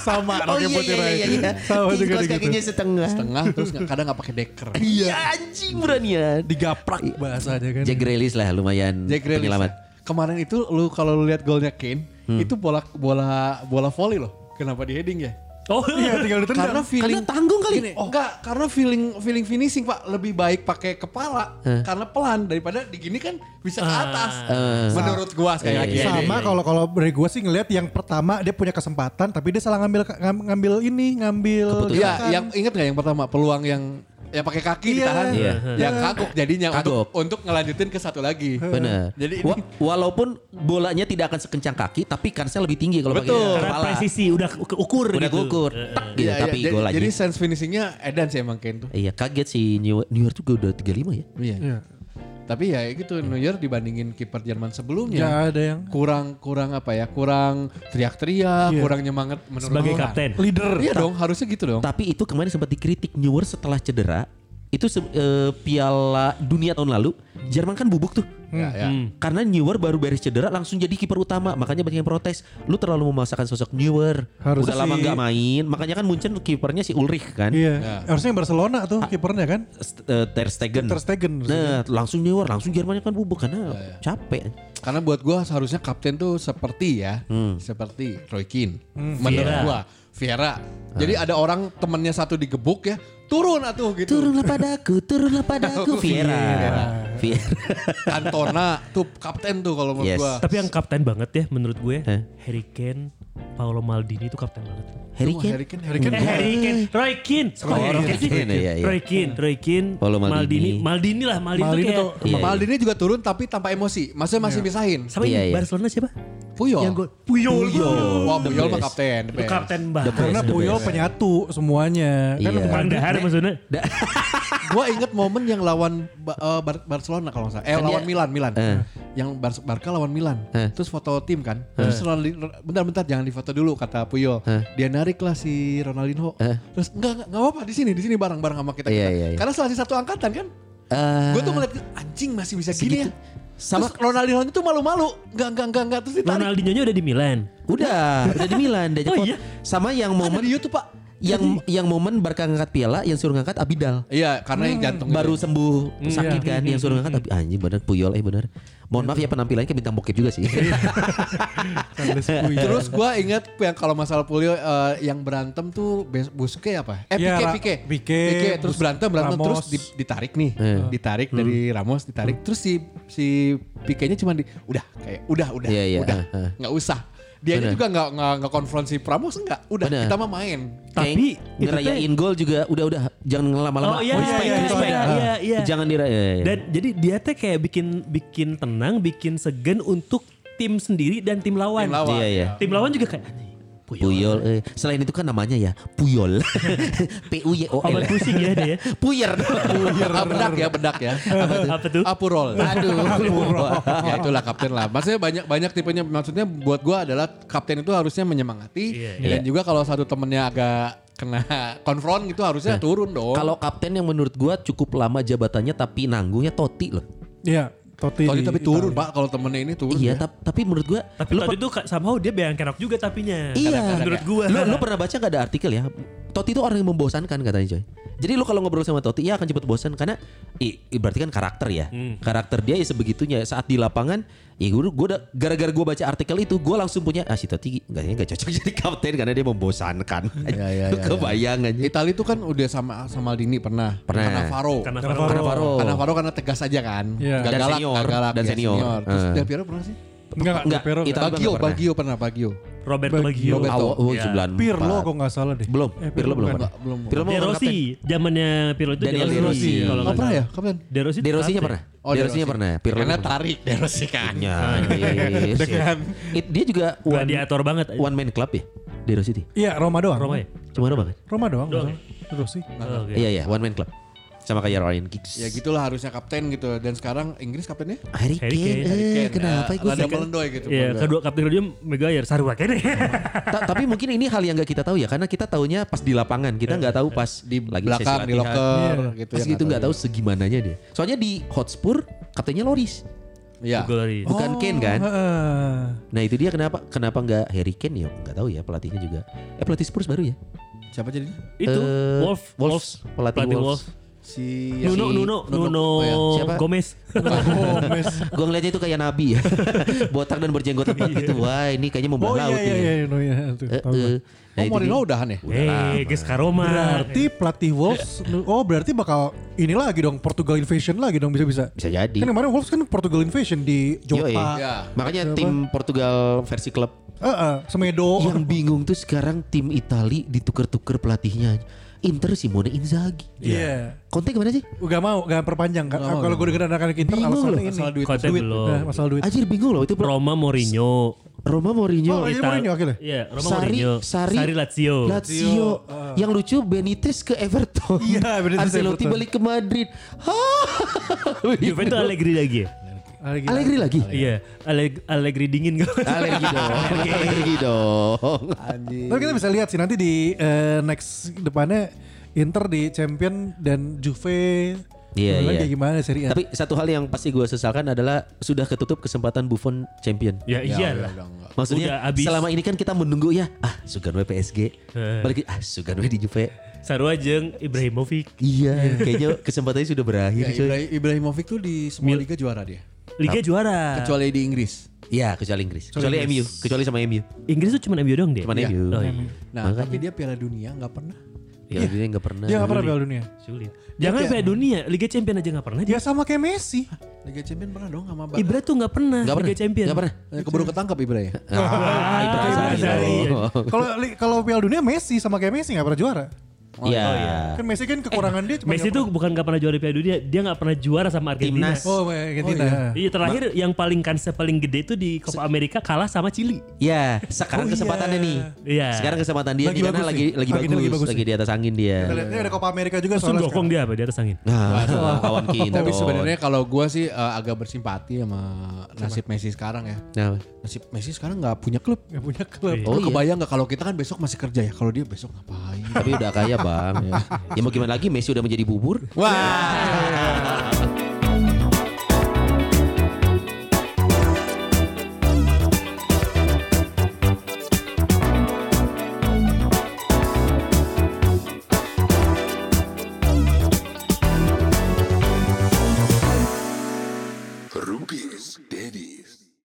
Speaker 5: Sama
Speaker 3: Oh
Speaker 5: Rocky
Speaker 3: iya iya
Speaker 5: Putirai.
Speaker 3: iya iya.
Speaker 5: Sama
Speaker 3: Ih,
Speaker 5: juga
Speaker 3: Kaos
Speaker 5: gitu.
Speaker 3: kakinya setengah.
Speaker 2: Setengah terus nggak- kadang nggak pakai deker.
Speaker 3: Iya anjing beranian.
Speaker 5: Digaprak bahasanya kan.
Speaker 3: Jack Grealish lah lumayan
Speaker 2: Jack Grealish.
Speaker 3: penyelamat.
Speaker 2: Kemarin itu lu kalau lu lihat golnya Kane, itu bola bola bola volley loh. Kenapa di heading ya?
Speaker 1: Oh
Speaker 5: Iya, tinggal ditendang.
Speaker 2: Karena Oh. feeling
Speaker 3: Karena tanggung kali.
Speaker 2: Gini, Enggak, karena feeling feeling finishing Pak lebih baik pakai kepala karena pelan daripada digini kan bisa ke atas. Menurut gua sekali lagi. ya.
Speaker 5: sama kalau kalau dari gue sih ngelihat yang pertama dia punya kesempatan tapi dia salah ngambil ngam- ngambil ini ngambil
Speaker 2: Iya,
Speaker 5: gerakan.
Speaker 2: yang inget nggak yang pertama peluang yang ya pakai kaki
Speaker 5: Iya.
Speaker 2: ditahan,
Speaker 3: Iya.
Speaker 2: yang kagok jadinya
Speaker 3: Kagok.
Speaker 2: untuk untuk ngelanjutin ke satu lagi.
Speaker 3: Bener.
Speaker 2: Eh. Jadi ini-
Speaker 3: Wa- walaupun bolanya tidak akan sekencang kaki, tapi kansnya lebih tinggi kalau pakai
Speaker 2: Betul.
Speaker 1: Karena
Speaker 3: kepala.
Speaker 1: presisi udah keukur
Speaker 3: Udah
Speaker 1: gitu.
Speaker 3: gugur, tek gitu,
Speaker 2: Iya, iya.
Speaker 3: tapi
Speaker 2: jadi,
Speaker 3: gol lagi.
Speaker 2: jadi sense finishingnya Edan sih emang Kane tuh.
Speaker 3: Iya kaget sih New, New York juga udah 35 ya.
Speaker 2: Iya.
Speaker 5: Iya.
Speaker 2: Tapi ya gitu New Year dibandingin kiper Jerman
Speaker 5: Nggak
Speaker 2: sebelumnya
Speaker 5: ada yang
Speaker 2: kurang kurang apa ya? Kurang teriak-teriak, kurang nyemangat menurut
Speaker 1: Sebagai
Speaker 2: orang.
Speaker 1: kapten.
Speaker 5: leader
Speaker 2: Iya dong, harusnya gitu dong.
Speaker 3: Tapi itu kemarin sempat dikritik New York setelah cedera. Itu se- eh, Piala Dunia tahun lalu Jerman kan bubuk tuh.
Speaker 2: Ya, ya.
Speaker 1: Hmm.
Speaker 3: Karena Neuer baru beres cedera langsung jadi kiper utama. Makanya banyak yang protes. Lu terlalu memaksakan sosok Neuer.
Speaker 5: Harusnya
Speaker 3: Udah lama
Speaker 5: sih-
Speaker 3: nggak main. Makanya kan Munchen kipernya si Ulrich kan.
Speaker 5: iya harusnya yang Barcelona tuh kipernya kan
Speaker 3: St- eh, Ter Stegen.
Speaker 5: Ter Stegen
Speaker 3: Nah langsung Neuer. Langsung Jermannya kan bubuk karena capek.
Speaker 2: Karena buat gua seharusnya kapten tuh seperti ya,
Speaker 1: Hmm.
Speaker 2: seperti Roy Keane. Menurut
Speaker 1: Vieira.
Speaker 2: gua, Vieira.
Speaker 1: Hmm.
Speaker 2: Jadi ada orang temennya satu digebuk ya, turun atuh gitu.
Speaker 3: Turunlah padaku, turunlah padaku.
Speaker 2: Vieira.
Speaker 3: Vieira. Vieira.
Speaker 2: *laughs* Cantona tuh kapten tuh kalau menurut
Speaker 3: Yes.
Speaker 2: gua.
Speaker 1: Tapi yang kapten banget ya menurut gue
Speaker 3: Hah?
Speaker 1: Harry Kane, Paolo Maldini itu kapten banget.
Speaker 3: Harry
Speaker 2: Tuh,
Speaker 3: Kane.
Speaker 2: Harry Kane, Harry Kane.
Speaker 1: Eh, Harry Kane, Roy Keane, Kok
Speaker 3: Oh,
Speaker 1: Harry
Speaker 3: Roy
Speaker 1: Kane sih?
Speaker 3: Keane, iya, iya.
Speaker 1: Roy Keane, Roy Keane,
Speaker 3: Paolo Maldini.
Speaker 1: Maldini, Maldini lah, Maldini,
Speaker 5: Maldini
Speaker 1: tuh
Speaker 5: tuh-
Speaker 1: kayak
Speaker 3: Iya, iya.
Speaker 2: Maldini juga turun tapi tanpa emosi. Maksudnya masih misahin.
Speaker 1: sama
Speaker 3: Iya,
Speaker 1: yang
Speaker 3: iya.
Speaker 1: Barcelona siapa?
Speaker 2: Puyol.
Speaker 1: Yang gol Puyol.
Speaker 3: Puyol.
Speaker 2: Wah,
Speaker 3: The
Speaker 2: Puyol mah
Speaker 3: best.
Speaker 2: kapten. the
Speaker 1: Itu
Speaker 2: best.
Speaker 1: kapten banget.
Speaker 5: karena
Speaker 3: Yes, the
Speaker 5: Puyol
Speaker 3: best.
Speaker 5: penyatu semuanya kan
Speaker 3: Iya.
Speaker 5: kemarin
Speaker 1: Pandahar maksudnya.
Speaker 2: Gua inget momen yang lawan Ba- eh, Bar- Barcelona kalau nggak salah. Eh,
Speaker 3: Kan
Speaker 2: lawan
Speaker 3: dia-
Speaker 2: Milan, Milan.
Speaker 3: Eh.
Speaker 2: Yang Bar- Barca lawan Milan.
Speaker 3: Eh.
Speaker 2: Terus foto tim kan. Terus Ronaldinho, bentar-bentar jangan difoto dulu kata Puyol.
Speaker 3: Eh.
Speaker 2: Dia narik lah si Ronaldinho.
Speaker 3: Eh.
Speaker 2: Terus enggak enggak enggak apa-apa di sini, di sini bareng-bareng sama kita.
Speaker 3: Iya, iya, iya.
Speaker 2: Karena selagi satu angkatan kan.
Speaker 3: Eh,
Speaker 2: Gue tuh ngeliat anjing masih bisa gini ya.
Speaker 3: Sama-
Speaker 2: Terus Ronaldinho itu malu-malu. Enggak enggak enggak enggak terus ditarik.
Speaker 1: Ronaldinho-nya udah di Milan.
Speaker 3: Udah, udah di Milan, udah
Speaker 1: Oh
Speaker 3: jemput.
Speaker 1: iya?
Speaker 3: Sama yang
Speaker 2: Ada
Speaker 3: momen
Speaker 2: di YouTube, Pak.
Speaker 3: yang yang momen Barca ngangkat piala, yang suruh ngangkat Abidal.
Speaker 2: Iya, karena yang jantung
Speaker 3: Hmm. Baru sembuh
Speaker 1: Iya.
Speaker 3: sakit kan, yang suruh ngangkat Abi- anjing bener Puyol eh bener. Mohon maaf
Speaker 1: Iya.
Speaker 3: ya penampilannya kayak bintang bokep juga sih.
Speaker 5: Charles Puyol.
Speaker 2: Terus gue inget yang kalau masalah polio eh, yang berantem tuh Bes- Buske apa? Eh
Speaker 5: Iya,
Speaker 2: Pique,
Speaker 5: Ra-
Speaker 2: Pique.
Speaker 5: Pique,
Speaker 2: Terus
Speaker 5: Bus-
Speaker 2: berantem, berantem.
Speaker 5: Ramos.
Speaker 2: Terus di- ditarik nih.
Speaker 3: Iya.
Speaker 2: Ditarik dari
Speaker 3: Hmm.
Speaker 2: Ramos, ditarik. Terus si si Pique-nya cuma di, udah kayak, udah, udah,
Speaker 3: Iya, iya,
Speaker 2: udah.
Speaker 3: ah, ah.
Speaker 2: Nggak usah. Dia
Speaker 3: Bener.
Speaker 2: juga nggak nggak nggak konfronsi Pramos enggak. Udah,
Speaker 3: Bener.
Speaker 2: kita mah main.
Speaker 1: Tapi
Speaker 3: *laughs* Kayak
Speaker 1: itu teh-
Speaker 3: ngerayain gol juga udah-udah jangan lama-lama.
Speaker 1: Oh, iya,
Speaker 3: respect,
Speaker 1: iya,
Speaker 3: respect. Ah.
Speaker 1: iya, iya, iya.
Speaker 3: Jangan eh, dirayain.
Speaker 1: Dan jadi dia teh kayak bikin bikin tenang, bikin segen untuk tim sendiri dan tim lawan.
Speaker 2: Tim lawan.
Speaker 3: Iya, iya.
Speaker 1: Tim lawan juga kayak "Anjing,
Speaker 3: Puyol. eh. Selain itu kan namanya ya Puyol. *laughs* P U Y O L.
Speaker 1: obat pusing ya dia.
Speaker 3: Puyer. *laughs*
Speaker 5: Iya,
Speaker 2: Ah, bedak ya, bedak ya.
Speaker 1: Apa tuh?
Speaker 2: Apurol.
Speaker 3: Aduh.
Speaker 2: ya itulah kapten lah. Maksudnya banyak banyak tipenya. Maksudnya buat gua adalah kapten itu harusnya menyemangati
Speaker 1: Iya,
Speaker 2: dan juga kalau satu temennya agak kena konfront gitu harusnya turun dong.
Speaker 3: Kalau kapten yang menurut gua cukup lama jabatannya tapi nanggungnya Totti loh.
Speaker 5: iya Totti, di
Speaker 2: Tadi tapi turun
Speaker 5: Italia.
Speaker 2: pak kalau temennya ini turun.
Speaker 3: Iya,
Speaker 2: ya.
Speaker 3: tap- tapi menurut gua
Speaker 1: Tapi
Speaker 3: lu
Speaker 1: tadi tuh ka- somehow dia bayang kerok juga tapinya.
Speaker 3: Iya,
Speaker 1: menurut gua.
Speaker 3: Lu, lu pernah baca gak ada artikel ya? Totti itu orang yang membosankan katanya coy. Jadi lu kalau ngobrol sama Totti ya akan cepet bosan karena i, i- berarti kan karakter ya.
Speaker 5: Hmm.
Speaker 3: Karakter dia ya sebegitunya saat di lapangan ya gue gua udah- gara-gara gue baca artikel itu gue langsung punya ah si Totti gak, gak cocok *laughs* jadi kapten karena dia
Speaker 2: *laughs*
Speaker 3: membosankan.
Speaker 2: Iya, iya,
Speaker 3: lu
Speaker 2: iya,
Speaker 3: kebayang aja.
Speaker 2: Itali itu kan udah sama sama Dini pernah.
Speaker 3: Pernah.
Speaker 2: Cannavaro.
Speaker 1: Karena
Speaker 5: Karena
Speaker 1: Navarro.
Speaker 3: Navarro.
Speaker 2: Cannavaro karena tegas aja kan.
Speaker 5: Iya.
Speaker 2: Gak
Speaker 3: Dan
Speaker 2: galak,
Speaker 3: senior.
Speaker 2: gak galak.
Speaker 3: Dan
Speaker 2: Ya,
Speaker 3: senior.
Speaker 2: Terus
Speaker 3: Eh.
Speaker 2: Del Piero pernah sih?
Speaker 5: Enggak, enggak,
Speaker 3: Enggak,
Speaker 5: Pero
Speaker 3: Ita- Tapi
Speaker 2: Bagio,
Speaker 3: nggak pernah.
Speaker 2: Bagio pernah Bagio.
Speaker 1: Roberto
Speaker 5: Bagio.
Speaker 1: Baggio.
Speaker 2: Roberto.
Speaker 3: Awal- awal
Speaker 1: Iya.
Speaker 3: 94.
Speaker 5: Ya. Pirlo kok nggak salah deh.
Speaker 3: belum,
Speaker 5: Eh,
Speaker 3: Pirlo belum
Speaker 5: bukan.
Speaker 3: pernah.
Speaker 2: Nggak, belum.
Speaker 3: Pirlo belum
Speaker 1: De
Speaker 3: pernah
Speaker 1: Rossi, zamannya Pirlo itu
Speaker 3: Daniel
Speaker 1: De
Speaker 3: De
Speaker 1: Rossi.
Speaker 3: Rossi.
Speaker 1: Kalau
Speaker 2: Oh
Speaker 1: nggak
Speaker 2: pernah ya?
Speaker 1: salah.
Speaker 2: Kapan?
Speaker 1: De Rossi.
Speaker 3: De Rosinya
Speaker 1: kapten.
Speaker 3: pernah.
Speaker 2: Oh,
Speaker 3: De
Speaker 2: De
Speaker 3: Rosinya
Speaker 2: Rossi.
Speaker 3: pernah. ya? Pirlo
Speaker 2: Karena
Speaker 3: belum.
Speaker 2: tarik De Rossi kan.
Speaker 3: Ya, iya, iya, iya,
Speaker 5: *laughs*
Speaker 3: sih. It- dia juga one,
Speaker 1: Gladiator banget.
Speaker 3: one man club ya De Rossi itu.
Speaker 5: Iya, Roma doang.
Speaker 1: Roma ya?
Speaker 3: Cuma Roma kan?
Speaker 5: Roma doang.
Speaker 1: Doang
Speaker 5: Terus sih.
Speaker 1: Oh, oke.
Speaker 3: Iya iya, one man club. Sama kayak Ryan Giggs.
Speaker 2: Ya gitulah harusnya kapten gitu. Dan sekarang Inggris kaptennya?
Speaker 3: Harry Kane,
Speaker 1: Harry
Speaker 3: eh,
Speaker 1: Kane, Harry
Speaker 3: kenapa
Speaker 2: Eh,
Speaker 3: gue
Speaker 2: Rada melendoy gitu.
Speaker 1: Iya,
Speaker 2: melendoy.
Speaker 1: kedua kapten dia Megayer Sarwakene.
Speaker 3: Iya. Tapi mungkin ini hal yang nggak kita tahu ya, karena kita tahunya pas di lapangan, kita nggak tahu pas
Speaker 2: Di
Speaker 3: lagi
Speaker 2: belakang, di
Speaker 3: sesi latihan.
Speaker 2: locker
Speaker 5: Iya.
Speaker 2: gitu.
Speaker 3: Pas
Speaker 2: ya,
Speaker 3: gitu nggak tahu
Speaker 2: juga.
Speaker 3: segimananya dia. Soalnya di Hotspur kaptennya Loris,
Speaker 2: Iya.
Speaker 1: Golari.
Speaker 3: bukan
Speaker 5: Oh.
Speaker 3: Kane kan?
Speaker 5: Heeh.
Speaker 3: Nah itu dia kenapa kenapa nggak Harry Kane ya? Nggak tahu ya pelatihnya juga. Eh pelatih Spurs baru ya?
Speaker 2: Siapa jadinya?
Speaker 1: Itu
Speaker 3: Eh,
Speaker 1: Wolf,
Speaker 3: Wolves. Pelatih Wolves.
Speaker 2: Si...
Speaker 1: Nuno,
Speaker 2: Iya, si-
Speaker 1: Nuno, Nuno
Speaker 2: Oh, iya.
Speaker 3: Siapa?
Speaker 1: Gomez.
Speaker 5: Oh, mes.
Speaker 3: Gue ngeliatnya itu kayak nabi ya, *laughs* botak dan berjenggot empat gitu. Wah ini kayaknya
Speaker 5: Oh
Speaker 3: membah
Speaker 5: iya
Speaker 3: laut
Speaker 5: iya
Speaker 3: ini.
Speaker 5: iya, no, iya, tuh,
Speaker 3: Eh,
Speaker 5: tahu
Speaker 3: eh.
Speaker 5: gua.
Speaker 3: Nah,
Speaker 2: Oh,
Speaker 3: itu
Speaker 2: Mourinho
Speaker 3: dia.
Speaker 2: udahan ya?
Speaker 1: Eh, Ges Karoma.
Speaker 5: Berarti pelatih Wolves, oh berarti bakal ini lagi dong Portugal Invasion lagi dong bisa-bisa.
Speaker 3: Bisa jadi.
Speaker 5: Kan kemarin Wolves kan Portugal Invasion di Jota,
Speaker 3: Yoi.
Speaker 2: Ya.
Speaker 3: Makanya tim Portugal versi klub
Speaker 5: Eh, eh, Semedo.
Speaker 3: Yang bingung tuh sekarang tim Itali ditukar-tukar pelatihnya. Inter Simone Inzaghi.
Speaker 5: Iya.
Speaker 3: Konten kemana sih?
Speaker 5: Gak mau, gak perpanjang kan. Kalau gue dengerin anak-anak Inter
Speaker 3: Bingung
Speaker 5: alasannya
Speaker 3: loh,
Speaker 5: ini.
Speaker 2: masalah duit.
Speaker 1: Konten
Speaker 5: Duit, eh,
Speaker 1: belum.
Speaker 5: masalah duit.
Speaker 3: Anjir bingung loh itu pel-
Speaker 1: Roma Mourinho.
Speaker 3: Roma Mourinho.
Speaker 5: Oh, iya,
Speaker 1: Ital-
Speaker 5: Mourinho akhirnya?
Speaker 1: Iya, Roma
Speaker 3: Sari,
Speaker 1: Mourinho.
Speaker 3: Sari,
Speaker 1: Lazio.
Speaker 3: Lazio. Yang lucu Benitez ke Everton.
Speaker 5: Iya, Benitez ke
Speaker 3: Ancelotti
Speaker 5: Everton.
Speaker 3: balik ke Madrid.
Speaker 1: Iya. Juventus Allegri lagi. ya?
Speaker 5: Lagi-
Speaker 3: Allegri lagi.
Speaker 1: Iya, Alleg- Allegri dingin gak?
Speaker 3: Allegri dong.
Speaker 1: *laughs*
Speaker 3: Allegri dong.
Speaker 5: Tapi kita bisa lihat sih nanti di eh, next depannya Inter di Champion dan Juve
Speaker 3: Iya,
Speaker 5: Mulai
Speaker 3: iya.
Speaker 5: kayak gimana seri A.
Speaker 3: Tapi satu hal yang pasti gue sesalkan adalah sudah ketutup kesempatan Buffon champion.
Speaker 1: Ya
Speaker 2: iya
Speaker 1: iyalah.
Speaker 2: udah enggak.
Speaker 3: Maksudnya
Speaker 1: Udah abis.
Speaker 3: selama ini kan kita menunggu ya ah Suganwe PSG balik ah Suganwe di Juve
Speaker 1: Sarua jeung Ibrahimovic.
Speaker 3: Iya, kayaknya kesempatannya sudah
Speaker 2: Ya,
Speaker 3: berakhir coy.
Speaker 2: Ibra- Ibrahimovic tuh di semua liga juara dia.
Speaker 3: Ah.
Speaker 1: Liga juara.
Speaker 2: Kecuali di Inggris.
Speaker 3: Iya, kecuali Inggris. Kecuali MU, kecuali sama MU.
Speaker 1: Inggris tuh cuma MU doang deh.
Speaker 3: Cuma
Speaker 1: Iya.
Speaker 3: MU.
Speaker 1: Oh, iya.
Speaker 2: Nah, tapi dia Piala Dunia nggak pernah.
Speaker 3: Ya, dia nggak pernah.
Speaker 5: Dia gak Iya, pernah Piala Dunia.
Speaker 1: Sulit. Jangan Piala Dunia, Liga Champion aja nggak pernah. dia.
Speaker 5: Ya sama kayak Messi.
Speaker 2: Liga Champion pernah dong sama Barca.
Speaker 1: Ibra tuh nggak pernah
Speaker 3: Gak pernah.
Speaker 1: Liga Champion.
Speaker 3: Gak pernah.
Speaker 2: Eh, Keburu ketangkap Ibra ya.
Speaker 3: Ah, itu
Speaker 1: Ibra
Speaker 3: Azari
Speaker 1: Azari.
Speaker 3: dong.
Speaker 5: Kalau li- kalau Piala Dunia Messi sama kayak Messi gak pernah juara.
Speaker 3: *laughs* Iya.
Speaker 5: Kan Messi kan kekurangan dia cuma
Speaker 1: Messi
Speaker 5: nggak
Speaker 1: tuh bukan nggak pernah juara Piala Dunia, dia nggak pernah juara sama Argentina.
Speaker 3: Timnas.
Speaker 5: pernah- Oh, kayak Argentina.
Speaker 2: Oh, iya.
Speaker 1: Iya terakhir yang paling kansnya paling gede itu di Copa Amerika kalah sama Chili.
Speaker 3: Iya,
Speaker 5: Oh,
Speaker 3: sekarang kesempatannya
Speaker 5: iya.
Speaker 3: nih.
Speaker 1: Iya.
Speaker 3: Sekarang kesempatan dia
Speaker 5: Lagi
Speaker 3: di sana
Speaker 5: bagus
Speaker 3: lagi
Speaker 5: nih.
Speaker 3: lagi
Speaker 5: Lagi- lagi
Speaker 3: bagus,
Speaker 5: bagus
Speaker 3: lagi
Speaker 5: nih.
Speaker 3: di atas angin dia.
Speaker 5: Kita lihat, Ini ada Copa America juga
Speaker 1: Terus
Speaker 5: soalnya
Speaker 1: gokong
Speaker 5: sekarang.
Speaker 1: dia apa di atas angin.
Speaker 3: Nah, kawan kita.
Speaker 2: Tapi sebenarnya kalau gua sih eh, agak bersimpati sama nasib Messi sekarang ya.
Speaker 3: Nah,
Speaker 2: Nasib Messi sekarang nggak punya klub.
Speaker 5: Gak punya klub.
Speaker 2: Lu
Speaker 3: Oh, iya.
Speaker 2: kebayang nggak kalau kita kan besok masih kerja ya? Kalau dia besok ngapain?
Speaker 3: tapi udah kaya, Bang. ya mau gimana lagi Messi udah menjadi bubur.
Speaker 4: Rupees Denny's.